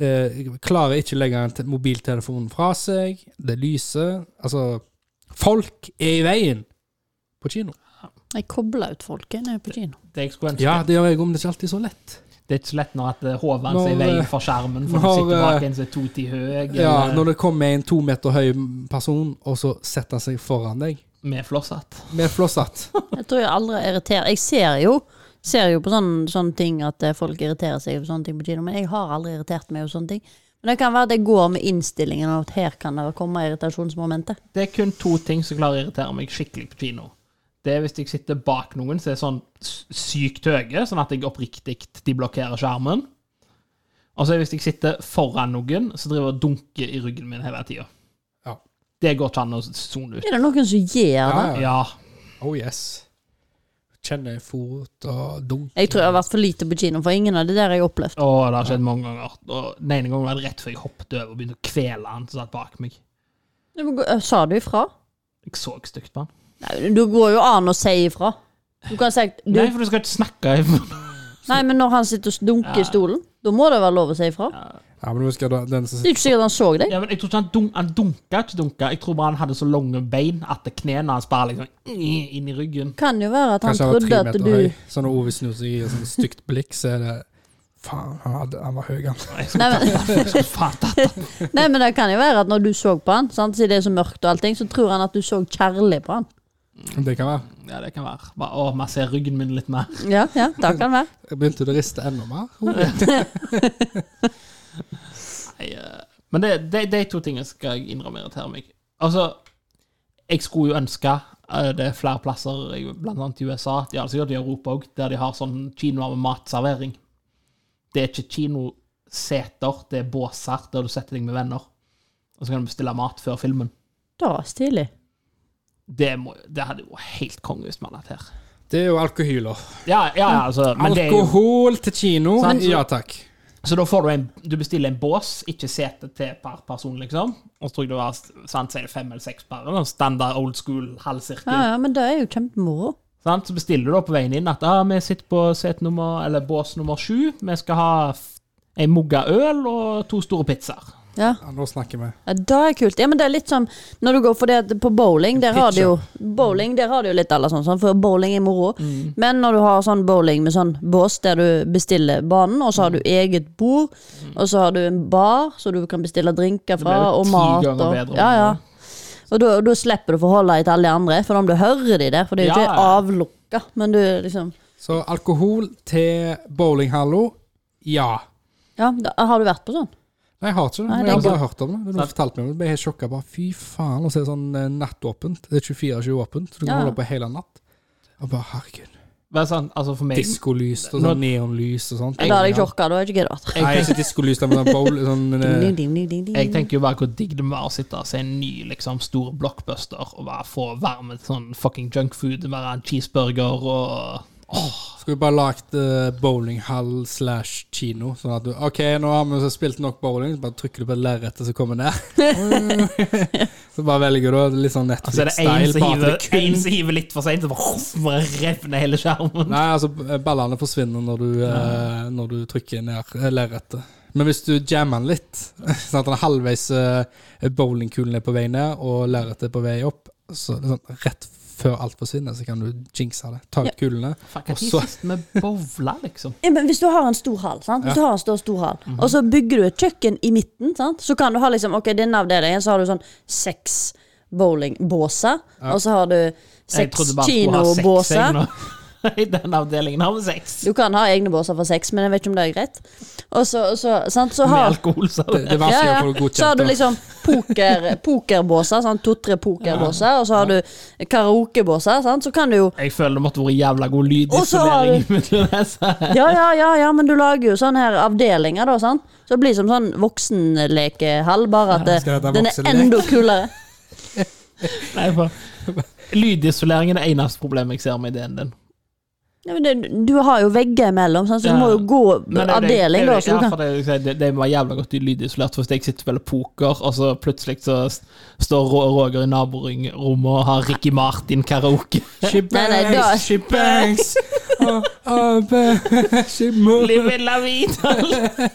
Speaker 2: eh, klarer ikke å legge en te- mobiltelefonen fra seg, det lyser Altså, folk er i veien på kino.
Speaker 1: Jeg kobler ut folket når jeg er på kino.
Speaker 3: Det jeg skulle ønske.
Speaker 2: Ja, det gjør jeg, om det er ikke alltid så lett.
Speaker 3: Det er ikke så lett når at eh, hodet hans er i
Speaker 2: Når, eh,
Speaker 3: veien for skjermen, for
Speaker 2: når,
Speaker 3: du sitter
Speaker 2: eh,
Speaker 3: bak en som er to ti høy, eh,
Speaker 2: Ja,
Speaker 3: eller
Speaker 2: når det kommer en to meter høy person, og så setter han seg foran deg
Speaker 3: med flosshatt.
Speaker 2: med flosshatt.
Speaker 1: Jeg tror jeg aldri er irritert. Jeg ser jo, ser jo på sånne, sånne ting at eh, folk irriterer seg over sånne ting på kino, men jeg har aldri irritert meg over sånne ting. Men det kan være at jeg går med innstillingen av at her kan det komme irritasjonsmomentet.
Speaker 3: Det er kun to ting som klarer å irritere meg skikkelig på kino. Det er hvis jeg sitter bak noen som er sånn s- sykt høye, sånn at jeg oppriktig de blokkerer skjermen. Og så er det hvis jeg sitter foran noen som driver og dunker i ryggen min hele tida.
Speaker 2: Ja.
Speaker 3: Det går ikke an å sone ut.
Speaker 1: Er det noen som gjør det?
Speaker 2: ja.
Speaker 3: Ja.
Speaker 2: Oh yes. Kjenner fot og dunk.
Speaker 1: Jeg tror jeg har vært for lite på kino, for ingen av det der jeg har opplevd.
Speaker 3: Å, det har skjedd mange ganger. Og den ene gangen var det rett før jeg hoppet over og begynte å kvele han som satt bak meg.
Speaker 1: Ja, men gå- eh, Sa du ifra?
Speaker 3: Jeg så stygt på han.
Speaker 1: Nei, du går jo an å si ifra. Du kan si du,
Speaker 3: Nei, for du skal ikke snakke i
Speaker 1: Nei, men når han sitter og dunker i stolen, da må det være lov å si ifra.
Speaker 2: Ja, men husker du den som
Speaker 1: Det er jo ikke sikkert han så deg.
Speaker 3: Ja, men jeg tror ikke han, dun han dunka, ikke dunka. Jeg tror bare han hadde så lange bein at det knærne hans bare liksom inn i ryggen. [laughs]
Speaker 1: Kan jo være at han
Speaker 2: kanskje han var
Speaker 1: trodde
Speaker 2: tre
Speaker 1: at
Speaker 2: meter
Speaker 1: du
Speaker 2: høy, så når Ove snur seg i et sånt stygt blikk, så er det Faen, han, hadde, han var høy, han.
Speaker 3: Jeg
Speaker 1: Nei, men-
Speaker 3: skulle faen tatt det.
Speaker 1: Nei, men det kan jo være at når du så på han, sant, siden det er så mørkt og allting, så tror han at du så kjærlig på han.
Speaker 2: Det kan være.
Speaker 3: Ja, det kan være. Bare, å, masser ryggen min litt mer.
Speaker 1: Ja, ja, det kan være.
Speaker 2: Jeg begynte å riste enda mer.
Speaker 3: Nei, eh, Men det, de, de to tingene skal jeg innrømme irriterer meg. Altså, jeg skulle jo ønske eh, det er flere plasser, jeg- blant annet i USA, de har det sikkert i Europa òg, der de har sånn kinoer med matservering. Det er ikke kinoseter, det er båser der du setter deg med venner. Og så kan du bestille mat før filmen.
Speaker 1: Da, stilig.
Speaker 3: Det, må, det hadde jo vært helt konge hvis man hadde hatt her.
Speaker 2: Det er jo alkohyler.
Speaker 3: Ja, ja, ja, altså, men det er jo,
Speaker 2: Alkohol til kino.
Speaker 3: Sant, så-
Speaker 2: Ja takk.
Speaker 3: så da får du en Du bestiller en bås, ikke sete til per person, liksom. Og så tror jeg det var sant, så er det fem eller seks per. eller Standard old school halvsirkel.
Speaker 1: Ja, ja, men det er jo kjempemoro.
Speaker 3: Sant? Så bestiller du da på veien inn at ah, vi sitter på set nummer, eller bås nummer sju. Vi skal ha f- en mugge øl og to store pizzaer.
Speaker 1: Ja.
Speaker 2: Ja, nå snakker vi.
Speaker 1: ja, det er kult. Ja, men det er litt som når du går for det at på bowling, der har du jo Bowling, der har du jo litt alle sånn, sånn, for bowling er moro. Men når du har sånn bowling med sånn bås der du bestiller banen, og så har du eget bord, og så har du en bar så du kan bestille drinker
Speaker 3: blir
Speaker 1: fra,
Speaker 3: jo
Speaker 1: Ah, og
Speaker 3: ti
Speaker 1: mat
Speaker 3: ganger
Speaker 1: og
Speaker 3: bedre.
Speaker 1: Ja, ja. Og da, da slipper du å forholde deg til alle de andre, for om du hører de der, for det er jo
Speaker 3: Ja,
Speaker 1: ikke
Speaker 3: ja.
Speaker 1: avlukka, men du liksom
Speaker 2: Så alkohol til bowlinghallo, ja.
Speaker 1: Ja, da, har du vært på sånn?
Speaker 2: Nei, jeg har ikke det.
Speaker 1: Nei, det
Speaker 2: men
Speaker 1: er
Speaker 2: jeg har bare
Speaker 1: ikke-
Speaker 2: hørt om det. Men Du
Speaker 3: Sant.
Speaker 2: fortalte meg om det, ble helt sjokka. Bare, fy faen, og så er det sånn eh, nattåpent. Det er 24-7 åpent, så du kan
Speaker 1: Ja.
Speaker 2: holde på hele natt. Og bare, herregud.
Speaker 3: Bare sånn, altså for meg
Speaker 2: Diskolys og sånn neonlys og sånt.
Speaker 1: Det hadde jeg ikke orka. Da hadde jeg ikke giddet.
Speaker 3: Jeg
Speaker 2: Nei,
Speaker 3: tenker-
Speaker 2: ikke diskolys, det er sånn bowl
Speaker 1: [laughs]
Speaker 2: sånn, eh,
Speaker 1: Ding, ding, ding, ding, ding.
Speaker 3: Jeg tenker jo bare hvor digg det må være å sitte og se en ny liksom, stor blockbuster og bare få varmet sånn fucking junkfood, være en cheeseburger og åh,
Speaker 2: Skulle bare lagt eh, bowlinghall slash kino. Sånn at du OK, nå har vi så spilt nok bowling, så bare trykker du på lerretet som kommer ned.
Speaker 1: [laughs]
Speaker 2: [laughs] så bare velger du da, litt sånn
Speaker 3: altså, er det én
Speaker 2: Netflix-style.
Speaker 3: som
Speaker 2: bare
Speaker 3: hiver,
Speaker 2: at det kun-
Speaker 3: en som hiver litt for seint, så bare, [laughs] bare revner hele skjermen.
Speaker 2: Nei, altså, ballene forsvinner når du, eh, når du trykker ned eh, lerretet. Men hvis du jammer den litt, [laughs] sånn at den er halvveis eh, bowlingkulen er på vei ned, og lerretet er på vei opp, så sånn, rett før alt forsvinner, så kan du jinxe det. Ta ut kulene.
Speaker 3: Fuck, jeg
Speaker 2: Også-
Speaker 3: er sist med bowla, liksom.
Speaker 1: Ja, men hvis du har en stor hall, sant? Hvis du har en stor, stor hall
Speaker 3: Mhm.
Speaker 1: og så bygger du et kjøkken i midten, sant? så kan du ha liksom, ok, denne avdelingen, så har du sånn seks bowlingbåser, og så har du
Speaker 3: Jeg
Speaker 1: seks
Speaker 3: trodde bare jeg skulle ha seks.
Speaker 1: kinobåser.
Speaker 3: jeg, nå. [laughs] I den avdelingen har vi seks.
Speaker 1: Du kan ha egne båser for seks, men jeg vet ikke om det er greit. Og så, og så, sant? så
Speaker 3: Med
Speaker 1: har
Speaker 3: alkohol, så.
Speaker 2: Det, det er
Speaker 1: ja,
Speaker 2: vanskelig å få det
Speaker 1: ja. Så har
Speaker 2: godkjent.
Speaker 1: du
Speaker 2: da.
Speaker 1: liksom poker, pokerbåser, sånn to-tre pokerbåser, og så har du karaokebåser, sant? så kan du jo
Speaker 3: Jeg føler det måtte vært jævla god
Speaker 1: Og så har
Speaker 3: lydisolering. mellom disse.
Speaker 1: Ja, ja, ja, ja, men du lager jo sånne her avdelinger, da. sant? Så det blir som sånn voksenlekehall, bare at det,
Speaker 2: skal dette
Speaker 1: den er
Speaker 2: voksenlek?
Speaker 1: enda kulere.
Speaker 3: Nei, for- Lydisoleringen er det eneste problemet jeg ser med ideen din.
Speaker 1: Ja, men det, du har jo vegger imellom, sant? så
Speaker 3: Ja.
Speaker 1: du må jo gå
Speaker 3: Men det er det-
Speaker 1: avdeling,
Speaker 3: det er
Speaker 1: da.
Speaker 3: det-
Speaker 1: Så du
Speaker 3: ja,
Speaker 1: kan
Speaker 3: for det, er jo ikke- det, det må være jævla godt i lydisolert. for Hvis jeg sitter og spiller poker, og så plutselig så s- står Ro- Roger i naborommet og har Ricky
Speaker 1: [laughs]
Speaker 3: Martin-karaoke.
Speaker 2: She
Speaker 1: Nei, nei, da-
Speaker 2: bangs, she bangs.
Speaker 1: [laughs]
Speaker 2: Oh, oh, ba- she moves,
Speaker 3: Live la vida!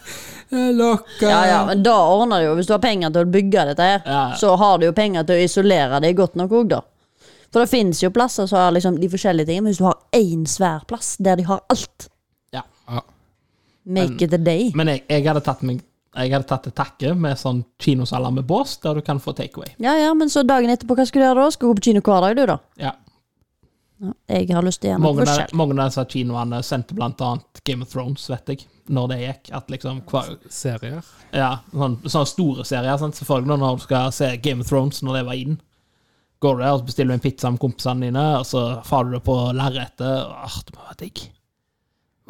Speaker 2: locker.
Speaker 1: ja, ja, Eh, men da ordner du jo Hvis du har penger til å bygge dette her,
Speaker 3: Ja.
Speaker 1: så har du jo penger til å isolere det godt nok òg, da. For det finnes jo plasser som har liksom de forskjellige tingene, men hvis du har én svær plass der de har alt,
Speaker 3: [laughs] Ja.
Speaker 2: Ja.
Speaker 1: make it a day.
Speaker 3: Men jeg, jeg hadde tatt meg jeg hadde tatt til takke med sånn kinosaler med bås, der du kan få takeaway.
Speaker 1: Ja, ja, men så dagen etterpå, hva skal du gjøre da? Skal du gå på kino hver dag, du, da?
Speaker 3: Ja.
Speaker 1: Ja, jeg har lyst til å gjøre noe
Speaker 3: Mange, av-
Speaker 1: forskjell.
Speaker 3: mange av disse kinoene sendte blant annet Game of Thrones, vet jeg, når det gikk. At liksom hver,
Speaker 2: Serier.
Speaker 3: Ja, sånn, sånne store serier, sant? selvfølgelig, når du skal se Game of Thrones når det var inn. Går du der og så bestiller du en pizza med kompisene dine, og så får du det på lerretet. og, Åh, det må være digg.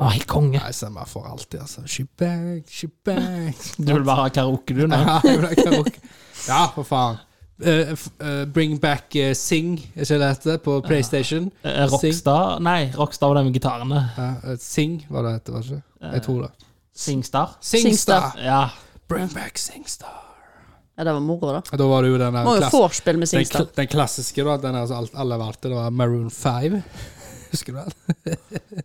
Speaker 3: Å, helt konge.
Speaker 2: Nei, stemmer for alltid, altså. She bangs, she bangs.
Speaker 3: Du vil bare ha karaoke, du,
Speaker 2: [laughs]
Speaker 3: nå?
Speaker 2: Ja, jeg vil ha karaoke. ja, for faen. Eh, f- eh, bring back eh, Sing, er ikke det det heter, på PlayStation?
Speaker 3: Eh, Rockstar? Nei, Rockstar var det med gitarene.
Speaker 2: Ja, eh, Sing var det hette, var det ikke?
Speaker 3: Eh,
Speaker 2: Jeg tror det.
Speaker 3: Singstar?
Speaker 2: Singstar!
Speaker 3: Ja.
Speaker 2: Bring back Singstar.
Speaker 1: Ja, det var moro, da.
Speaker 2: Ja, Da var det jo den der
Speaker 1: Må jo
Speaker 2: klass-
Speaker 1: vorspiel med
Speaker 2: den,
Speaker 1: Singstar.
Speaker 2: kl- den klassiske, da. Den er altså alt alle valgte, det var Maroon 5. [laughs] Husker du den?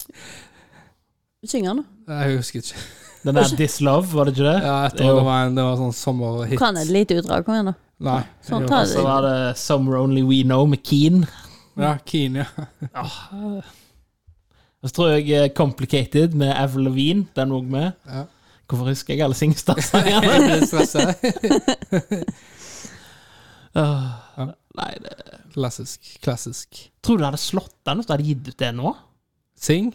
Speaker 1: Synger han, da?
Speaker 2: Nei, Jeg husker ikke.
Speaker 3: Den der This Love, var det ikke det?
Speaker 2: Ja, jeg tror det var en det var sånn sommerhit.
Speaker 1: Kan et lite utdrag? Kom igjen, da.
Speaker 2: Nei.
Speaker 1: Sånn,
Speaker 2: jo.
Speaker 1: ta
Speaker 3: Så var det Summer Only We Know med Keen.
Speaker 2: Ja, Keen, ja. [laughs]
Speaker 3: Og så tror jeg eh, Complicated med Avril Lavigne, den òg med.
Speaker 2: Ja.
Speaker 3: Hvorfor husker jeg alle Singstar-sangene?
Speaker 2: Jeg blir stresset.
Speaker 3: Åh, Nei, det
Speaker 2: Klassisk. Klassisk.
Speaker 3: Tror du det hadde slått den hvis du hadde gitt ut det nå?
Speaker 2: Sing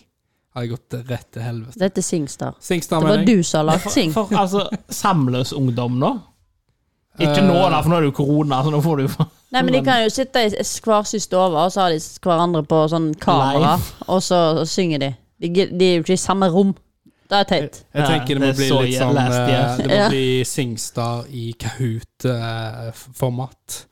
Speaker 2: har jeg gått rett til helvete.
Speaker 1: Dette er Singstar.
Speaker 2: Singstar,
Speaker 1: Det var
Speaker 2: mener jeg.
Speaker 1: du som har lagd Sing.
Speaker 3: For altså, samløs ungdom nå? Ikke nå, da, for nå er det jo korona. Så nå får du jo
Speaker 1: Nei, men de kan jo sitte i hver sin stue, og så har de hverandre på sånn kamera, og så synger de. De, gid- de er jo ikke i samme rom. Det er teit.
Speaker 2: Jeg tenker det må
Speaker 3: Ja, det
Speaker 2: bli
Speaker 3: er så
Speaker 2: litt sånn
Speaker 3: last,
Speaker 2: eh,
Speaker 3: yes.
Speaker 2: Det må
Speaker 1: Ja.
Speaker 2: bli Singstar i Kahoot-format. eh,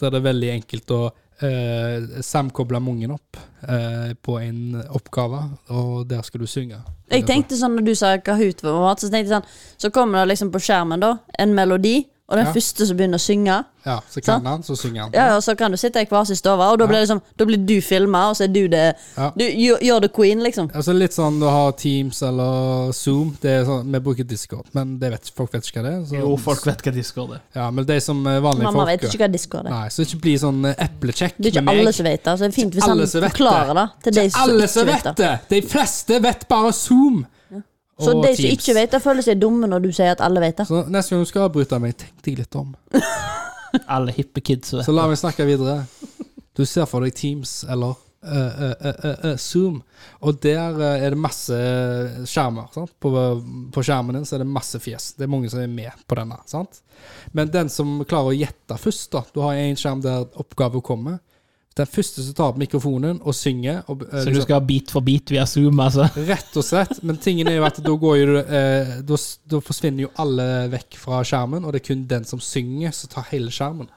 Speaker 2: Der det er veldig enkelt å eh, samkoble mange opp eh, på en oppgave, og der skal du synge.
Speaker 1: Jeg tenkte sånn når du sa Kahoot, var mat, så tenkte jeg sånn Så kommer det liksom på skjermen, da, en melodi, og den
Speaker 2: Ja.
Speaker 1: første som begynner å synge,
Speaker 2: Ja, så kan han, så synger han.
Speaker 1: ja, ja, så kan du sitte i hver sin stue, og da blir det liksom Da blir du filma, og så er du det
Speaker 2: Ja.
Speaker 1: Du you're you're the queen, liksom.
Speaker 2: Altså Litt sånn du har Teams eller Zoom. Det er sånn, vi bruker Discord, men det vet, folk vet ikke hva det er. så-
Speaker 3: Jo, folk vet hva Discord er.
Speaker 2: Ja, men de som er vanlige
Speaker 1: Mamma
Speaker 2: folk
Speaker 1: vet ikke hva Discord er.
Speaker 2: Nei, Så ikke bli sånn eh, eplekjekk
Speaker 1: Det er ikke
Speaker 2: med meg.
Speaker 1: alle som vet det, så det er fint hvis han
Speaker 2: alle som vet det.
Speaker 1: forklarer det til de som
Speaker 2: alle
Speaker 1: ikke
Speaker 2: som
Speaker 1: vet
Speaker 2: vet
Speaker 1: det.
Speaker 2: det! De fleste vet bare Zoom.
Speaker 1: Så
Speaker 2: Og
Speaker 1: de som
Speaker 2: Teams.
Speaker 1: ikke vet det, føler seg dumme når du sier at alle vet det.
Speaker 2: Så neste gang du skal avbryte meg, tenk deg litt om.
Speaker 3: Alle hippe kids vet
Speaker 2: Så la meg snakke videre. Du ser for deg Teams eller eh, eh, eh, eh, eh, Zoom, og der eh, er det masse skjermer. Sant? På, på skjermen din så er det masse fjes. Det er mange som er med på denne. Sant? Men den som klarer å gjette først, da Du har en skjerm der oppgaven kommer. Den første som tar opp mikrofonen og synger og, eh,
Speaker 3: Så du
Speaker 2: liksom,
Speaker 3: skal ha bit for bit via Zoom, altså?
Speaker 2: Rett og slett. Men tingen er jo at da går jo eh, da, s- da forsvinner jo alle vekk fra skjermen, og det er kun den som synger, som tar hele skjermen.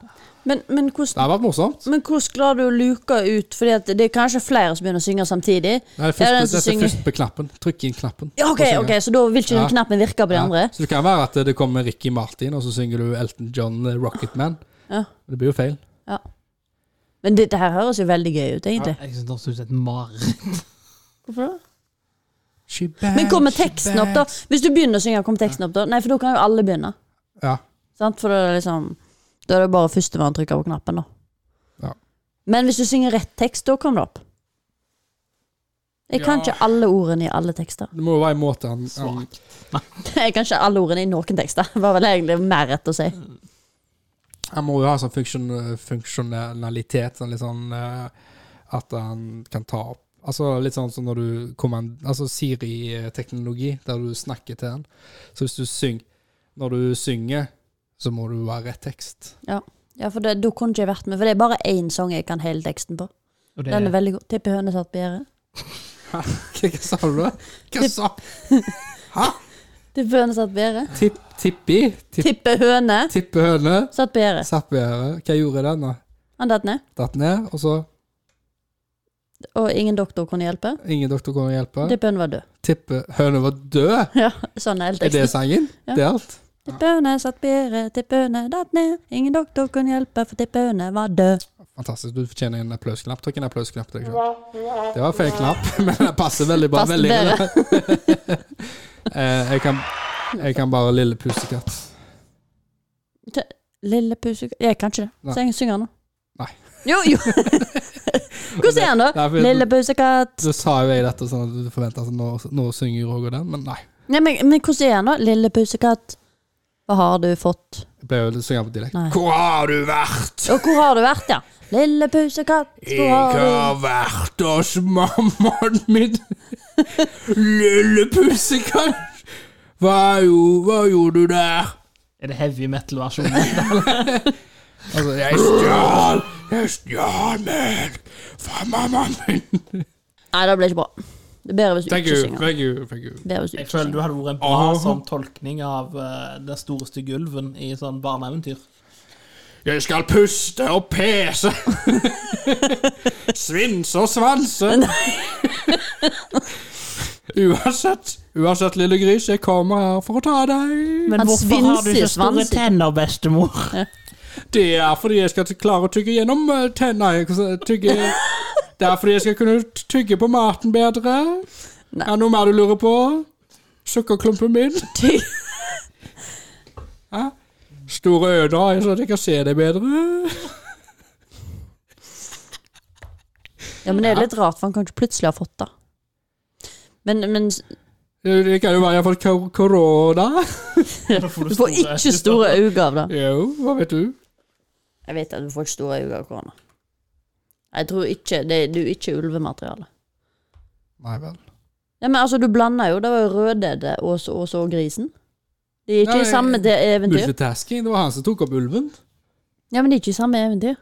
Speaker 1: Men, men
Speaker 2: Det
Speaker 1: hvordan
Speaker 2: har vært morsomt.
Speaker 1: men hvordan klarer du å luke ut? Fordi at det er kanskje flere som begynner å synge samtidig.
Speaker 2: Nei, først,
Speaker 1: Ja, den
Speaker 2: det,
Speaker 1: som
Speaker 2: dette er
Speaker 1: synger.
Speaker 2: først på knappen. Trykk inn knappen.
Speaker 1: Ja, ok,
Speaker 2: og synger.
Speaker 1: ok, Så da vil ikke den
Speaker 2: Ja.
Speaker 1: knappen virke på de
Speaker 2: Ja.
Speaker 1: andre?
Speaker 2: Så det kan være at eh, det kommer Ricky Martin, og så synger du Elton John eh, Rocketman.
Speaker 1: Ja.
Speaker 2: Det blir jo feil.
Speaker 1: Men dette her høres jo veldig gøy ut, egentlig.
Speaker 3: Jeg synes det høres ut som et mareritt.
Speaker 1: Hvorfor det? Men kommer teksten opp, da? Hvis du begynner å synge, kommer teksten opp da? Nei, for da kan jo alle begynne.
Speaker 2: Ja.
Speaker 1: Sant? For da er det liksom Da er det bare førstemann trykker på knappen, da.
Speaker 2: Ja.
Speaker 1: Men hvis du synger rett tekst, da kommer det opp. Jeg kan
Speaker 2: Ja.
Speaker 1: ikke alle ordene i alle tekster. [laughs]
Speaker 2: Det må jo være en måte han, han
Speaker 3: Svakt.
Speaker 1: Jeg kan ikke alle ordene i noen tekster. Det var vel egentlig mer rett å si.
Speaker 2: Han må jo ha sånn funksjon, funksjonalitet, sånn litt sånn eh, at han kan ta opp Altså litt sånn som når du kommand... Altså Siri-teknologi, der du snakker til han. Så hvis du syng, når du synger, så må du ha rett tekst. [laughs]
Speaker 1: Ja, for det, da kunne ikke jeg vært med, for det er bare én sang jeg kan hele teksten på.
Speaker 3: Og det,
Speaker 1: Den er veldig god. Tipper høna satt på gjerdet.
Speaker 2: Hva hva sa du? da? Hva sa
Speaker 1: Tipper høne satt på gjerdet.
Speaker 2: Tipp, Tippi? Tipp,
Speaker 1: Tipper høne
Speaker 2: Tippehøne?
Speaker 1: satt på gjerdet.
Speaker 2: Zappere. Hva gjorde den, da?
Speaker 1: Han datt ned,
Speaker 2: Datt ned, og så
Speaker 1: og ingen doktor kunne hjelpe.
Speaker 2: Ingen doktor kunne hjelpe.
Speaker 1: Tipper høne var død.
Speaker 2: Tippehøna var død!
Speaker 1: Ja, sånn er hele
Speaker 2: Er
Speaker 1: teksten.
Speaker 2: det sangen?
Speaker 1: Ja.
Speaker 2: Det er alt?
Speaker 1: Tippehøne satt på gjerdet, tippehøne datt ned. Ingen doktor kunne hjelpe, for tippehøne var død.
Speaker 2: Fantastisk. Du fortjener en applausknapp. Trykk en applausknapp til deg selv. Det var feil knapp, [laughs] men den passer veldig bra.
Speaker 1: Passer
Speaker 2: Veldig [laughs] Eh, jeg, kan, jeg kan bare Lille pusekatt.
Speaker 1: Lille pusekatt Jeg kan ikke det, så jeg synger den nå.
Speaker 2: Nei.
Speaker 1: Jo,
Speaker 2: [laughs]
Speaker 1: jo. Hvordan er den, da?
Speaker 2: Nei, for-
Speaker 1: Lille pusekatt.
Speaker 2: Så sa jo jeg dette sånn at du forventa at nå, nå synger Roger den, men nei.
Speaker 1: Nei, men, men hvordan er den, da? Lille pusekatt. Hva har du fått?
Speaker 2: Jeg ble jo litt synger på dialekt.
Speaker 1: Nei.
Speaker 2: Hvor har du vært?
Speaker 1: Og hvor har du vært, ja? Lille pusekatt, hvor
Speaker 2: Jeg
Speaker 1: har du
Speaker 2: har vært hos mammaen min. Lille pusekatt. Hva, jo- hva gjorde du der?
Speaker 3: er det heavy metal-versjonen?
Speaker 2: Altså, jeg stjal Jeg stjal meg fra mammaen min.
Speaker 1: Nei, det ble ikke bra. Det er bedre hvis du
Speaker 2: Thank
Speaker 1: ikke
Speaker 2: you,
Speaker 1: synger.
Speaker 2: thank you, thank you.
Speaker 1: Bedre hvis du
Speaker 3: Jeg
Speaker 1: ikke
Speaker 3: føler du
Speaker 1: synger.
Speaker 3: hadde vært en bra
Speaker 2: Aha.
Speaker 3: sånn tolkning av eh, Den store stygge ulven i sånn barneeventyr.
Speaker 2: Jeg skal puste og pese. Svinse og svanse. Uansett, uansett, lille gris, jeg kommer her for å ta deg.
Speaker 1: Han hvorfor har du svinser så store svansen.
Speaker 3: tenner, bestemor?
Speaker 2: Det er fordi jeg skal klare å tygge gjennom eh, tenna. Jeg skal Tygge.
Speaker 1: [laughs]
Speaker 2: Det er fordi jeg skal kunne tygge på maten bedre. Er det noe mer du lurer på? Sukkerklumpen min?
Speaker 1: Ty-
Speaker 2: Hæ? Store øyne, så at jeg kan se deg bedre.
Speaker 1: Ja, men det er litt rart, for han kan ikke plutselig ha fått det. Men, men
Speaker 2: Det kan jo være jeg har fått kor- korona.
Speaker 1: du får ikke
Speaker 2: [laughs]
Speaker 1: store øyne av det.
Speaker 2: Jo, hva vet du?
Speaker 1: Jeg vet at du får ikke store øyne av korona. Jeg tror ikke det, det er jo ikke ulvemateriale.
Speaker 2: Nei vel.
Speaker 1: Ja, men altså, du blander jo. Det var jo rødhette og, så- og så grisen. De er ikke
Speaker 2: Nei,
Speaker 1: i samme de- eventyr.
Speaker 2: Multitasking. Det var han som tok opp ulven.
Speaker 1: Ja, men de er ikke i samme eventyr.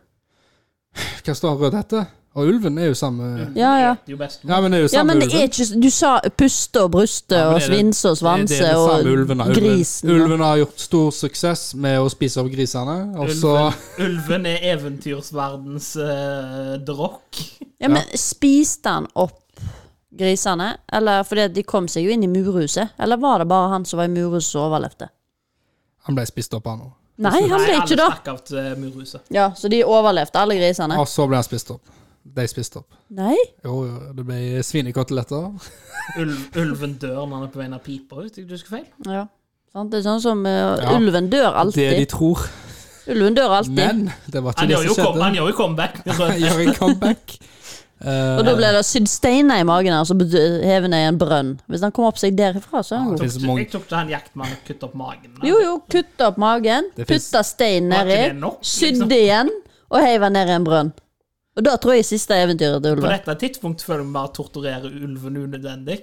Speaker 2: Hva står Rødhette? Og ulven er jo samme
Speaker 1: Ja, ja.
Speaker 3: Jo bestemor.
Speaker 2: Ja, men det er jo
Speaker 1: Ja,
Speaker 2: samme
Speaker 1: men det er
Speaker 2: ulven.
Speaker 1: ikke Du sa puste og bruste
Speaker 2: Ja, men
Speaker 1: og
Speaker 2: det er det-
Speaker 1: svinse og
Speaker 2: det er
Speaker 1: svanse
Speaker 2: den
Speaker 1: og
Speaker 2: samme ulven, da. ulven.
Speaker 1: grisen.
Speaker 2: Ulven har gjort stor suksess med å spise opp grisene, og så
Speaker 3: Ulven, ulven er eventyrsverdens uh, drokk.
Speaker 1: Ja, men spiste han opp grisene? Eller fordi at de kom seg jo inn i murhuset? Eller var det bare han som var i murhuset som overlevde?
Speaker 2: Han ble spist opp av noe.
Speaker 1: Nei, han ble ikke
Speaker 3: Alle
Speaker 1: det.
Speaker 3: stakk av eh, til murhuset.
Speaker 1: Ja, så de overlevde, alle grisene?
Speaker 2: Og så ble han spist opp. De spiste opp.
Speaker 1: Nei?
Speaker 2: Jo, jo, det ble svinekoteletter.
Speaker 3: Ulv, ulven dør når han er på vei ned pipa, hvis jeg ikke husker feil.
Speaker 1: Ja. Sant? Det er sånn som eh,
Speaker 2: Ja.
Speaker 1: Ulven dør
Speaker 2: Det
Speaker 1: alltid.
Speaker 2: de tror.
Speaker 1: Ulven dør alltid.
Speaker 2: Men det var ikke
Speaker 3: Han
Speaker 2: det
Speaker 3: gjør jo,
Speaker 2: som
Speaker 3: kom,
Speaker 2: skjedde.
Speaker 3: han gjør jo
Speaker 2: [laughs]
Speaker 3: comeback.
Speaker 2: Han gjør en comeback. Eh,
Speaker 1: Og da ble det sydd steiner i magen hans og bet- hevet ned i en brønn. Hvis han kom opp seg derifra, så er han
Speaker 2: Ja.
Speaker 1: god.
Speaker 3: Tok-
Speaker 2: finnes mange-
Speaker 3: Jeg tok ikke han jaktmannen og kutta opp magen. da.
Speaker 1: Jo, jo, kutta opp magen,
Speaker 2: Det finnes-
Speaker 1: putta stein
Speaker 3: Var
Speaker 1: nedi,
Speaker 3: ikke det nok, liksom?
Speaker 1: sydde igjen og heiv han ned i en brønn. Og da tror jeg siste eventyret til
Speaker 3: På
Speaker 1: ulven.
Speaker 3: dette tidspunkt føler vi bare torturerer ulven unødvendig.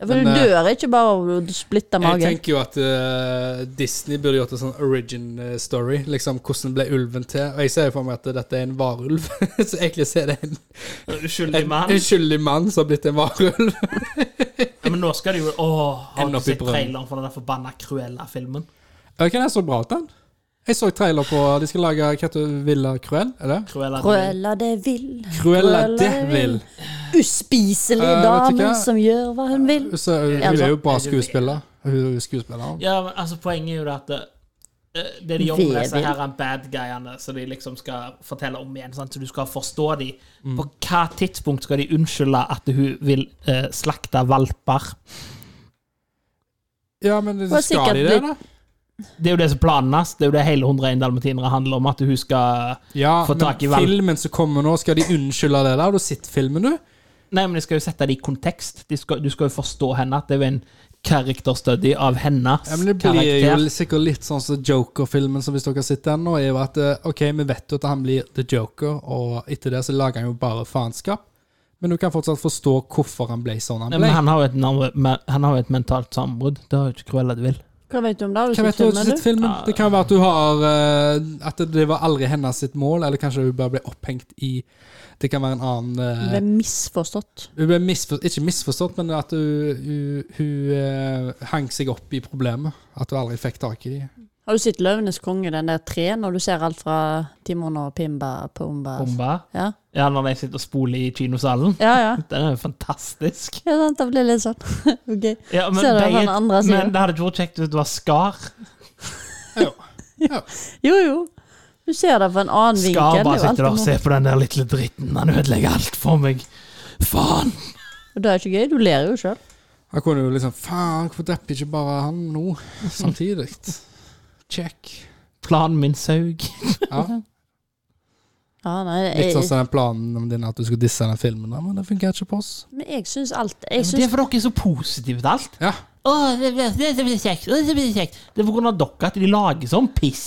Speaker 1: For du
Speaker 2: Men, eh,
Speaker 1: dør ikke bare av å splitte
Speaker 2: Jeg
Speaker 1: magen.
Speaker 2: tenker jo at eh, Disney burde gjort en sånn origin eh, story. Liksom Hvordan ble ulven til? Og jeg ser jo for meg at dette er en varulv. [laughs] Så egentlig så er det en,
Speaker 3: Uskyldig
Speaker 2: en [laughs]
Speaker 3: mann.
Speaker 2: uskyldig mann som har blitt en varulv.
Speaker 3: Ja, men nå skal de jo Åh, har
Speaker 2: Ender
Speaker 3: du
Speaker 2: opp i
Speaker 3: sett
Speaker 2: brønn.
Speaker 3: traileren for den der forbanna Cruella-filmen?
Speaker 2: Er ikke den så bra ut, den? Jeg så trailer på De skal lage hva heter det, Villa Cruel, er det?
Speaker 3: Cruella.
Speaker 1: Cruella de vil.
Speaker 2: Cruella
Speaker 1: Cruella
Speaker 2: Devil.
Speaker 1: Uspiselig
Speaker 2: Eh, vet du
Speaker 1: dame
Speaker 2: hva?
Speaker 1: som gjør hva hun vil.
Speaker 2: Så øh, hun
Speaker 1: Er det
Speaker 2: er jo bra
Speaker 3: Er det-
Speaker 2: skuespiller. Hun er jo skuespiller.
Speaker 3: Ja, men altså, poenget er jo det at det, eh, det de gjør med disse her er bad guyene, så de liksom skal fortelle om igjen, sant? så du skal forstå de.
Speaker 2: Mm.
Speaker 3: På hva tidspunkt skal de unnskylde at hun vil eh, slakte valper?
Speaker 2: Ja, men
Speaker 1: Hun har
Speaker 2: skal de
Speaker 1: sikkert
Speaker 2: det, da?
Speaker 1: blitt-
Speaker 3: Det er jo det som er planen hans. Det er jo det hele 101 dalmatinere handler om, at hun skal
Speaker 2: Ja,
Speaker 3: Få tak i
Speaker 2: men
Speaker 3: valp.
Speaker 2: filmen som kommer nå, skal de unnskylde det der? Har du sett filmen, du?
Speaker 3: Nei, men de skal jo sette det i kontekst. De skal, du skal jo forstå henne. At det er jo en character study av hennes
Speaker 2: Ja, men Det blir
Speaker 3: karakter.
Speaker 2: jo sikkert litt sånn som Joker-filmen, som hvis dere har sett den nå, er jo at eh, OK, vi vet jo at han blir The Joker, og etter det så lager han jo bare faenskap. Men du kan fortsatt forstå hvorfor han ble sånn han
Speaker 3: Nei,
Speaker 2: ble.
Speaker 3: men han har jo et, navn- men han har jo et mentalt sammenbrudd. Det har jo ikke Cruella de vil.
Speaker 1: Hva vet du om det? Har du
Speaker 2: Hva
Speaker 1: sett
Speaker 2: vet du, har du
Speaker 1: filmen, du?
Speaker 2: sett filmen? Det kan jo være at du har eh, At det var aldri hennes sitt mål, eller kanskje hun bare ble opphengt i Det kan være en annen
Speaker 1: Hun
Speaker 2: eh,
Speaker 1: ble misforstått.
Speaker 2: Hun ble misfor, ikke misforstått, men at hun, hun, hun eh, hang seg opp i problemet. At hun aldri fikk tak i dem.
Speaker 1: Har du sett Løvenes konge, den der tre, når du ser alt fra Timon og Pimba Pumba?
Speaker 2: Altså.
Speaker 3: Bomba.
Speaker 1: Ja,
Speaker 3: Ja, når de sitter og spoler i kinosalen.
Speaker 1: ja. ja.
Speaker 3: Den er jo fantastisk.
Speaker 1: Ja, sant, det blir litt sånn. [laughs] ok.
Speaker 3: Ja,
Speaker 1: Ser du
Speaker 3: begge-
Speaker 1: han andre sier?
Speaker 3: men det hadde ikke vært kjekt hvis det var Skar.
Speaker 1: Jo, jo. Du ser det fra en annen vinkel.
Speaker 3: Skar
Speaker 1: det er
Speaker 3: bare
Speaker 1: jo alltid
Speaker 3: sitter der og
Speaker 1: moro.
Speaker 3: ser på den der lille dritten. Han ødelegger alt for meg. Faen!
Speaker 1: Og det er ikke gøy. Du ler jo sjøl.
Speaker 2: Han kunne jo liksom Faen, hvorfor drepte ikke bare han nå,
Speaker 3: [laughs]
Speaker 2: samtidig? Check.
Speaker 3: Planen min saug.
Speaker 2: Ja,
Speaker 1: Ja, nei,
Speaker 2: litt sånn
Speaker 1: jeg,
Speaker 2: som den planen om din at du skulle disse den filmen, da, men det funker ikke på oss.
Speaker 1: men jeg syns alt
Speaker 3: Men
Speaker 1: jeg
Speaker 3: Det er
Speaker 1: syns,
Speaker 3: for dere er så positive til alt.
Speaker 2: Ja.
Speaker 3: Å, det blir, det blir kjekt. å, Det blir kjekt. Det er på grunn av dere at de lager sånn piss.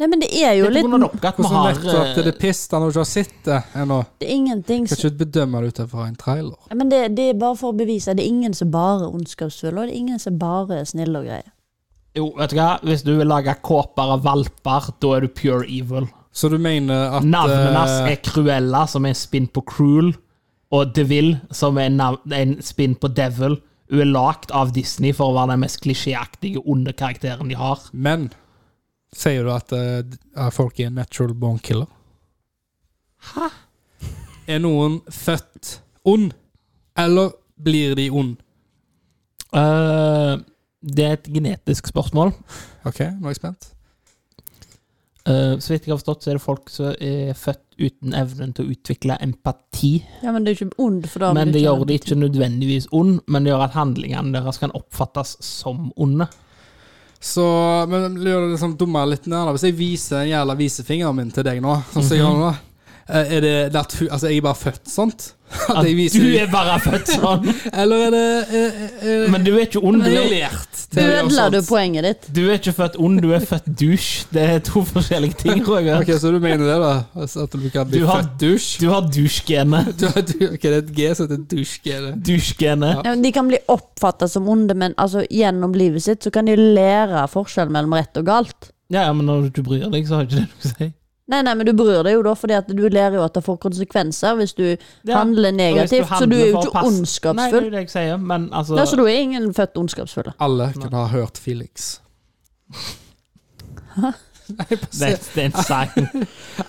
Speaker 1: Nei, men det er
Speaker 3: Det
Speaker 1: jo
Speaker 3: er på
Speaker 1: litt
Speaker 3: grunn av dere at vi
Speaker 2: Hvordan
Speaker 3: har
Speaker 2: vet du at det
Speaker 3: eh,
Speaker 2: er piss da når du ikke har sett det ennå?
Speaker 1: det er ingenting
Speaker 2: Kan
Speaker 1: som
Speaker 2: ikke bedømme det ut fra en trailer.
Speaker 1: Ja, Men det, det er bare for å bevise at det er ingen som bare er ondskapsfulle, og det er ingen som bare er snille og greie.
Speaker 3: Jo, vet du hva? Hvis du vil lage kåper av valper, da er du pure evil.
Speaker 2: Så du mener at
Speaker 3: Navnet hans
Speaker 2: eh,
Speaker 3: er Cruella, som er en spinn på Cruel, og Deville, som er en, nav- en spinn på Devil. Hun er lagd av Disney for å være den mest klisjéaktige, onde karakteren de har.
Speaker 2: Men sier du at eh, d- at folk er natural born killer?
Speaker 3: Hæ?
Speaker 2: Er noen født ond, eller blir de ond?
Speaker 3: Eh, det er et genetisk spørsmål.
Speaker 2: OK, nå er jeg spent.
Speaker 3: Eh, så vidt jeg har forstått, så er det folk som er født uten evnen til å utvikle empati.
Speaker 1: Ja, men det er ikke ond, for da
Speaker 3: Men
Speaker 1: det
Speaker 3: det gjør det ikke nødvendigvis ond, men det gjør at handlingene deres kan oppfattes som onde.
Speaker 2: Så men gjør det liksom dummere litt ned. da. Hvis jeg viser den jævla visefingeren min til deg nå, sånn
Speaker 3: Mhm.
Speaker 2: som jeg gjør nå eh, Er det natur... Altså, jeg er bare født sånt? [laughs] At
Speaker 3: At
Speaker 2: jeg
Speaker 3: du
Speaker 2: viser
Speaker 3: er bare født sånn!
Speaker 2: Eller er det er, er,
Speaker 3: Men du er ikke ond.
Speaker 2: er
Speaker 3: Du
Speaker 2: det
Speaker 3: er
Speaker 2: lært
Speaker 1: Du
Speaker 2: til å gjøre
Speaker 1: ødela du
Speaker 2: sånt?
Speaker 1: poenget ditt.
Speaker 3: Du er ikke født ond, du er født douche. Det er to forskjellige ting,
Speaker 2: [laughs]
Speaker 3: Roger.
Speaker 2: Ok, Så du mener det, da? Altså, At du kan bli
Speaker 3: Du har-
Speaker 2: født dusj?
Speaker 3: Du har douche-genet.
Speaker 2: [laughs] Du, du, ok, det er et G som heter dusjgenet.
Speaker 3: Douche-genet.
Speaker 1: Ja, men de kan bli oppfatta som onde, men altså, gjennom livet sitt så kan de lære forskjellen mellom rett og galt.
Speaker 3: Ja, ja, men når du ikke bryr deg, så har ikke det noe å si.
Speaker 1: Nei, nei, men du bryr deg jo da, fordi at du lærer jo at det får konsekvenser hvis du
Speaker 3: Ja,
Speaker 1: handler
Speaker 3: og hvis
Speaker 1: negativt. så du
Speaker 3: handler
Speaker 1: er jo
Speaker 3: for å
Speaker 1: ikke
Speaker 3: passe- Nei, det er
Speaker 1: ondskapsfull.
Speaker 3: jo det jeg sier, men altså
Speaker 1: Nei, så da er ingen født ondskapsfulle.
Speaker 2: Alle kunne ha hørt Felix.
Speaker 3: det, er- det er en sang.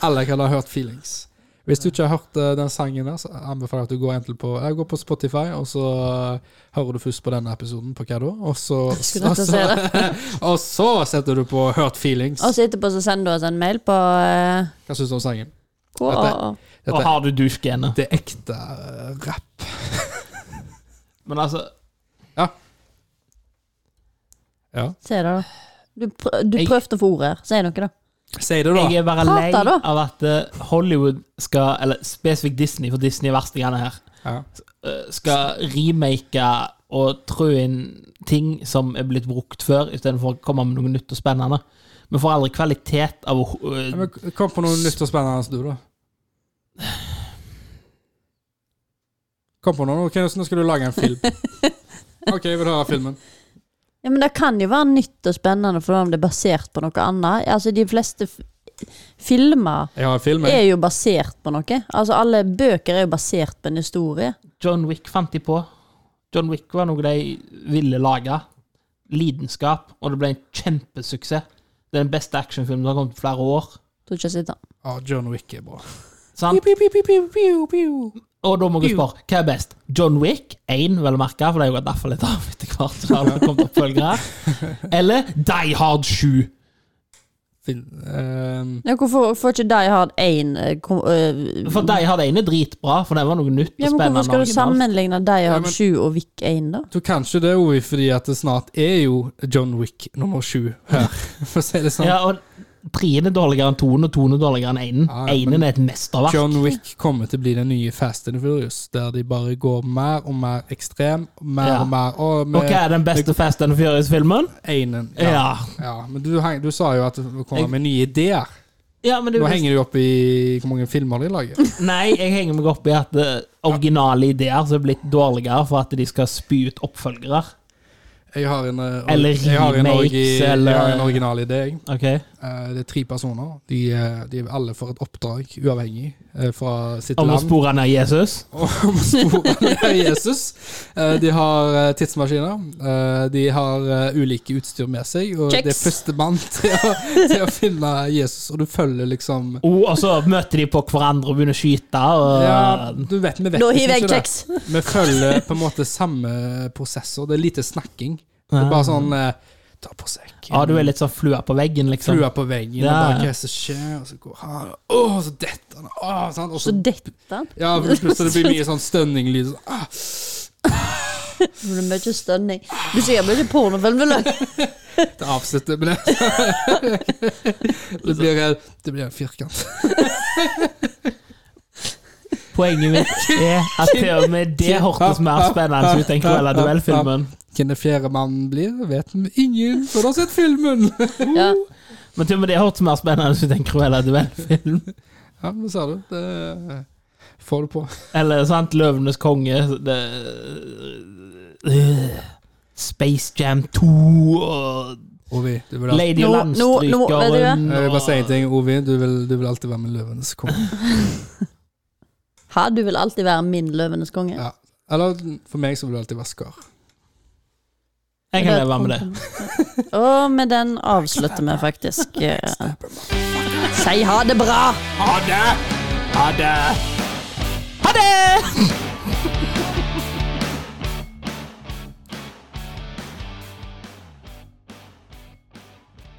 Speaker 2: Alle kan ha hørt Felix. Hvis du ikke har hørt eh, den sangen der, så anbefaler jeg at du går enten på Jeg går på Spotify, og så eh, hører du først på denne episoden på hva da, og så
Speaker 1: [laughs] Skulle
Speaker 2: og
Speaker 1: dette
Speaker 2: så,
Speaker 1: se
Speaker 3: [laughs]
Speaker 1: det?
Speaker 2: [laughs] og så setter du på Hørt Feelings.
Speaker 1: Og så etterpå så sender du oss en mail på eh,
Speaker 2: Hva syns du om sangen?
Speaker 1: hvor-
Speaker 3: Og
Speaker 2: Dette
Speaker 3: har du douche-genet.
Speaker 2: det er ekte eh, rapp.
Speaker 3: Men altså
Speaker 2: Ja.
Speaker 1: Si det, da. Du, prø du
Speaker 3: Jeg-
Speaker 1: prøvde å få ordet her. Si noe, da.
Speaker 2: Si det, da.
Speaker 3: Jeg er bare lei
Speaker 1: Prata, da.
Speaker 3: av at eh, Hollywood skal Eller spesifikt Disney, for Disney er verstingene her.
Speaker 2: Ja.
Speaker 3: eh, Skal remake og trø inn ting som er blitt brukt før, istedenfor å komme med noe nytt og spennende. Vi får aldri kvalitet av å eh,
Speaker 2: Ja, men Kom på noe nytt og spennende, du, da. Kom på noe. Ok, så nå skal du lage en film. OK, jeg vil høre filmen.
Speaker 1: Ja, men det kan jo være nytt og spennende for om det er basert på noe annet. Altså, de fleste f filmer
Speaker 2: Jeg har filmen.
Speaker 1: er jo basert på noe. Altså, alle bøker er jo basert på en historie.
Speaker 3: John Wick fant de på. John Wick var noe de ville lage. Lidenskap. Og det ble en kjempesuksess. Det er den beste actionfilmen som har kommet på flere år.
Speaker 1: Tror ikke jeg sitter.
Speaker 2: Ja, Ah, John Wick er bra.
Speaker 3: Sant? Og da må jeg spørre, hva er best? John Wick 1, vel å merke, for det har jo gått derfor litt av etter hvert. så har det kommet oppfølgere.
Speaker 2: [laughs]
Speaker 3: Eller Die Hard 7.
Speaker 2: Fin, ehm,
Speaker 1: Ja, hvorfor får ikke Die Hard 1 eh, kom, eh,
Speaker 3: For Die Hard 1 er dritbra, for det var noe nytt og
Speaker 1: ja, men
Speaker 3: spennende.
Speaker 1: Hvorfor skal du
Speaker 3: originalt.
Speaker 1: sammenligne Die
Speaker 2: Ja,
Speaker 1: Hard
Speaker 2: men-
Speaker 1: 7 og Wick 1, da?
Speaker 2: du kan ikke det, Ovi, fordi at det snart er jo John Wick nummer sju her, [laughs] for å si det sånn.
Speaker 3: Ja, og Treen er dårligere enn toen, og toen er dårligere enn einen.
Speaker 2: Ja, ja,
Speaker 3: Einen
Speaker 2: men-
Speaker 3: er et mesterverk.
Speaker 2: John Wick kommer til å bli den nye Fast and Furious, der de bare går mer og mer ekstrem, mer
Speaker 3: Ja.
Speaker 2: og mer Og
Speaker 3: Og
Speaker 2: med
Speaker 3: hva er den beste Fast and Furious-filmen?
Speaker 2: einen.
Speaker 3: Ja.
Speaker 2: eh, Ja.
Speaker 3: Ja.
Speaker 2: ja. Men du, heng- du sa jo at det kommer med nye ideer.
Speaker 3: men det er
Speaker 2: Nå
Speaker 3: jo-
Speaker 2: henger du opp i hvor mange filmer de lager.
Speaker 3: Nei, jeg henger meg opp i at eh, originale ideer som er blitt dårligere for at de skal spy ut oppfølgere.
Speaker 2: Jeg har en, eh,
Speaker 3: [laughs] Eller
Speaker 2: jeg har en, orgi-
Speaker 3: remakes, eller-
Speaker 2: jeg har en original idé. jeg.
Speaker 3: Ok?
Speaker 2: Eh, Det er tre personer. De, eh, de alle får et oppdrag, uavhengig, eh, fra sitt
Speaker 3: Om å
Speaker 2: land.
Speaker 3: spore ned Jesus.
Speaker 2: [laughs] om sporene av Jesus. Eh, De har eh, tidsmaskiner. Eh, De har eh, ulike utstyr med seg, og det er
Speaker 1: Kjeks.
Speaker 2: førstemann [laughs] til, å- til å finne Jesus, og du følger liksom
Speaker 3: Oh, og så møter de på hverandre og begynner å skyte. Og,
Speaker 2: ja, du vet, vi vet
Speaker 1: Da
Speaker 2: liksom
Speaker 1: hiver jeg
Speaker 2: ikke det.
Speaker 1: kjeks!
Speaker 2: Vi følger på en måte samme prosessor. Det er lite snakking. Det er bare sånn eh, Ta på sekk.
Speaker 3: Ja, du er litt sånn flua på veggen, liksom.
Speaker 2: Flua på veggen,
Speaker 3: Ja,
Speaker 2: og
Speaker 3: ja.
Speaker 2: bare hva er det som skjer, og så går han Åh, så detter han Åh, sant? Og
Speaker 1: Så
Speaker 2: så,
Speaker 1: dette han.
Speaker 2: ja, plutselig blir det mye sånn stønninglyd. sånn, Ah,
Speaker 1: Det blir mye stønning. Du ser meg ikke pornofilm, vil
Speaker 2: [laughs]
Speaker 1: du?
Speaker 2: Det avslutter med det. det, blir en, det blir en firkant.
Speaker 3: Poenget mitt er at til og med det hørtes mer spennende ut enn Cruella Duell-filmen.
Speaker 2: Hvem den fjerde mannen blir, vet vi ingen før du har sett filmen.
Speaker 1: Ja.
Speaker 3: Men til og med det hørtes mer spennende ut enn Cruella Duell-film.
Speaker 2: Ja, men sa du. Det eh, får du på.
Speaker 3: Eller sant, Løvenes konge det, øh, Space Jam 2 og
Speaker 2: Ovi, du vil, alltid,
Speaker 3: Lady
Speaker 1: Nå-
Speaker 3: og
Speaker 1: nå- nå- vet du
Speaker 3: Landstrykeren.
Speaker 2: jeg vil bare si en
Speaker 3: og-
Speaker 2: ting, Ovi. Du vil, du vil alltid være med Løvenes konge.
Speaker 1: Ha, du vil alltid være min løvenes konge.
Speaker 2: Ja. Eller for meg så vil du alltid være Skar.
Speaker 3: Jeg kan leve med det.
Speaker 1: Og med den avslutter vi faktisk. eh, Si ha det bra!
Speaker 3: Ha det! Ha det!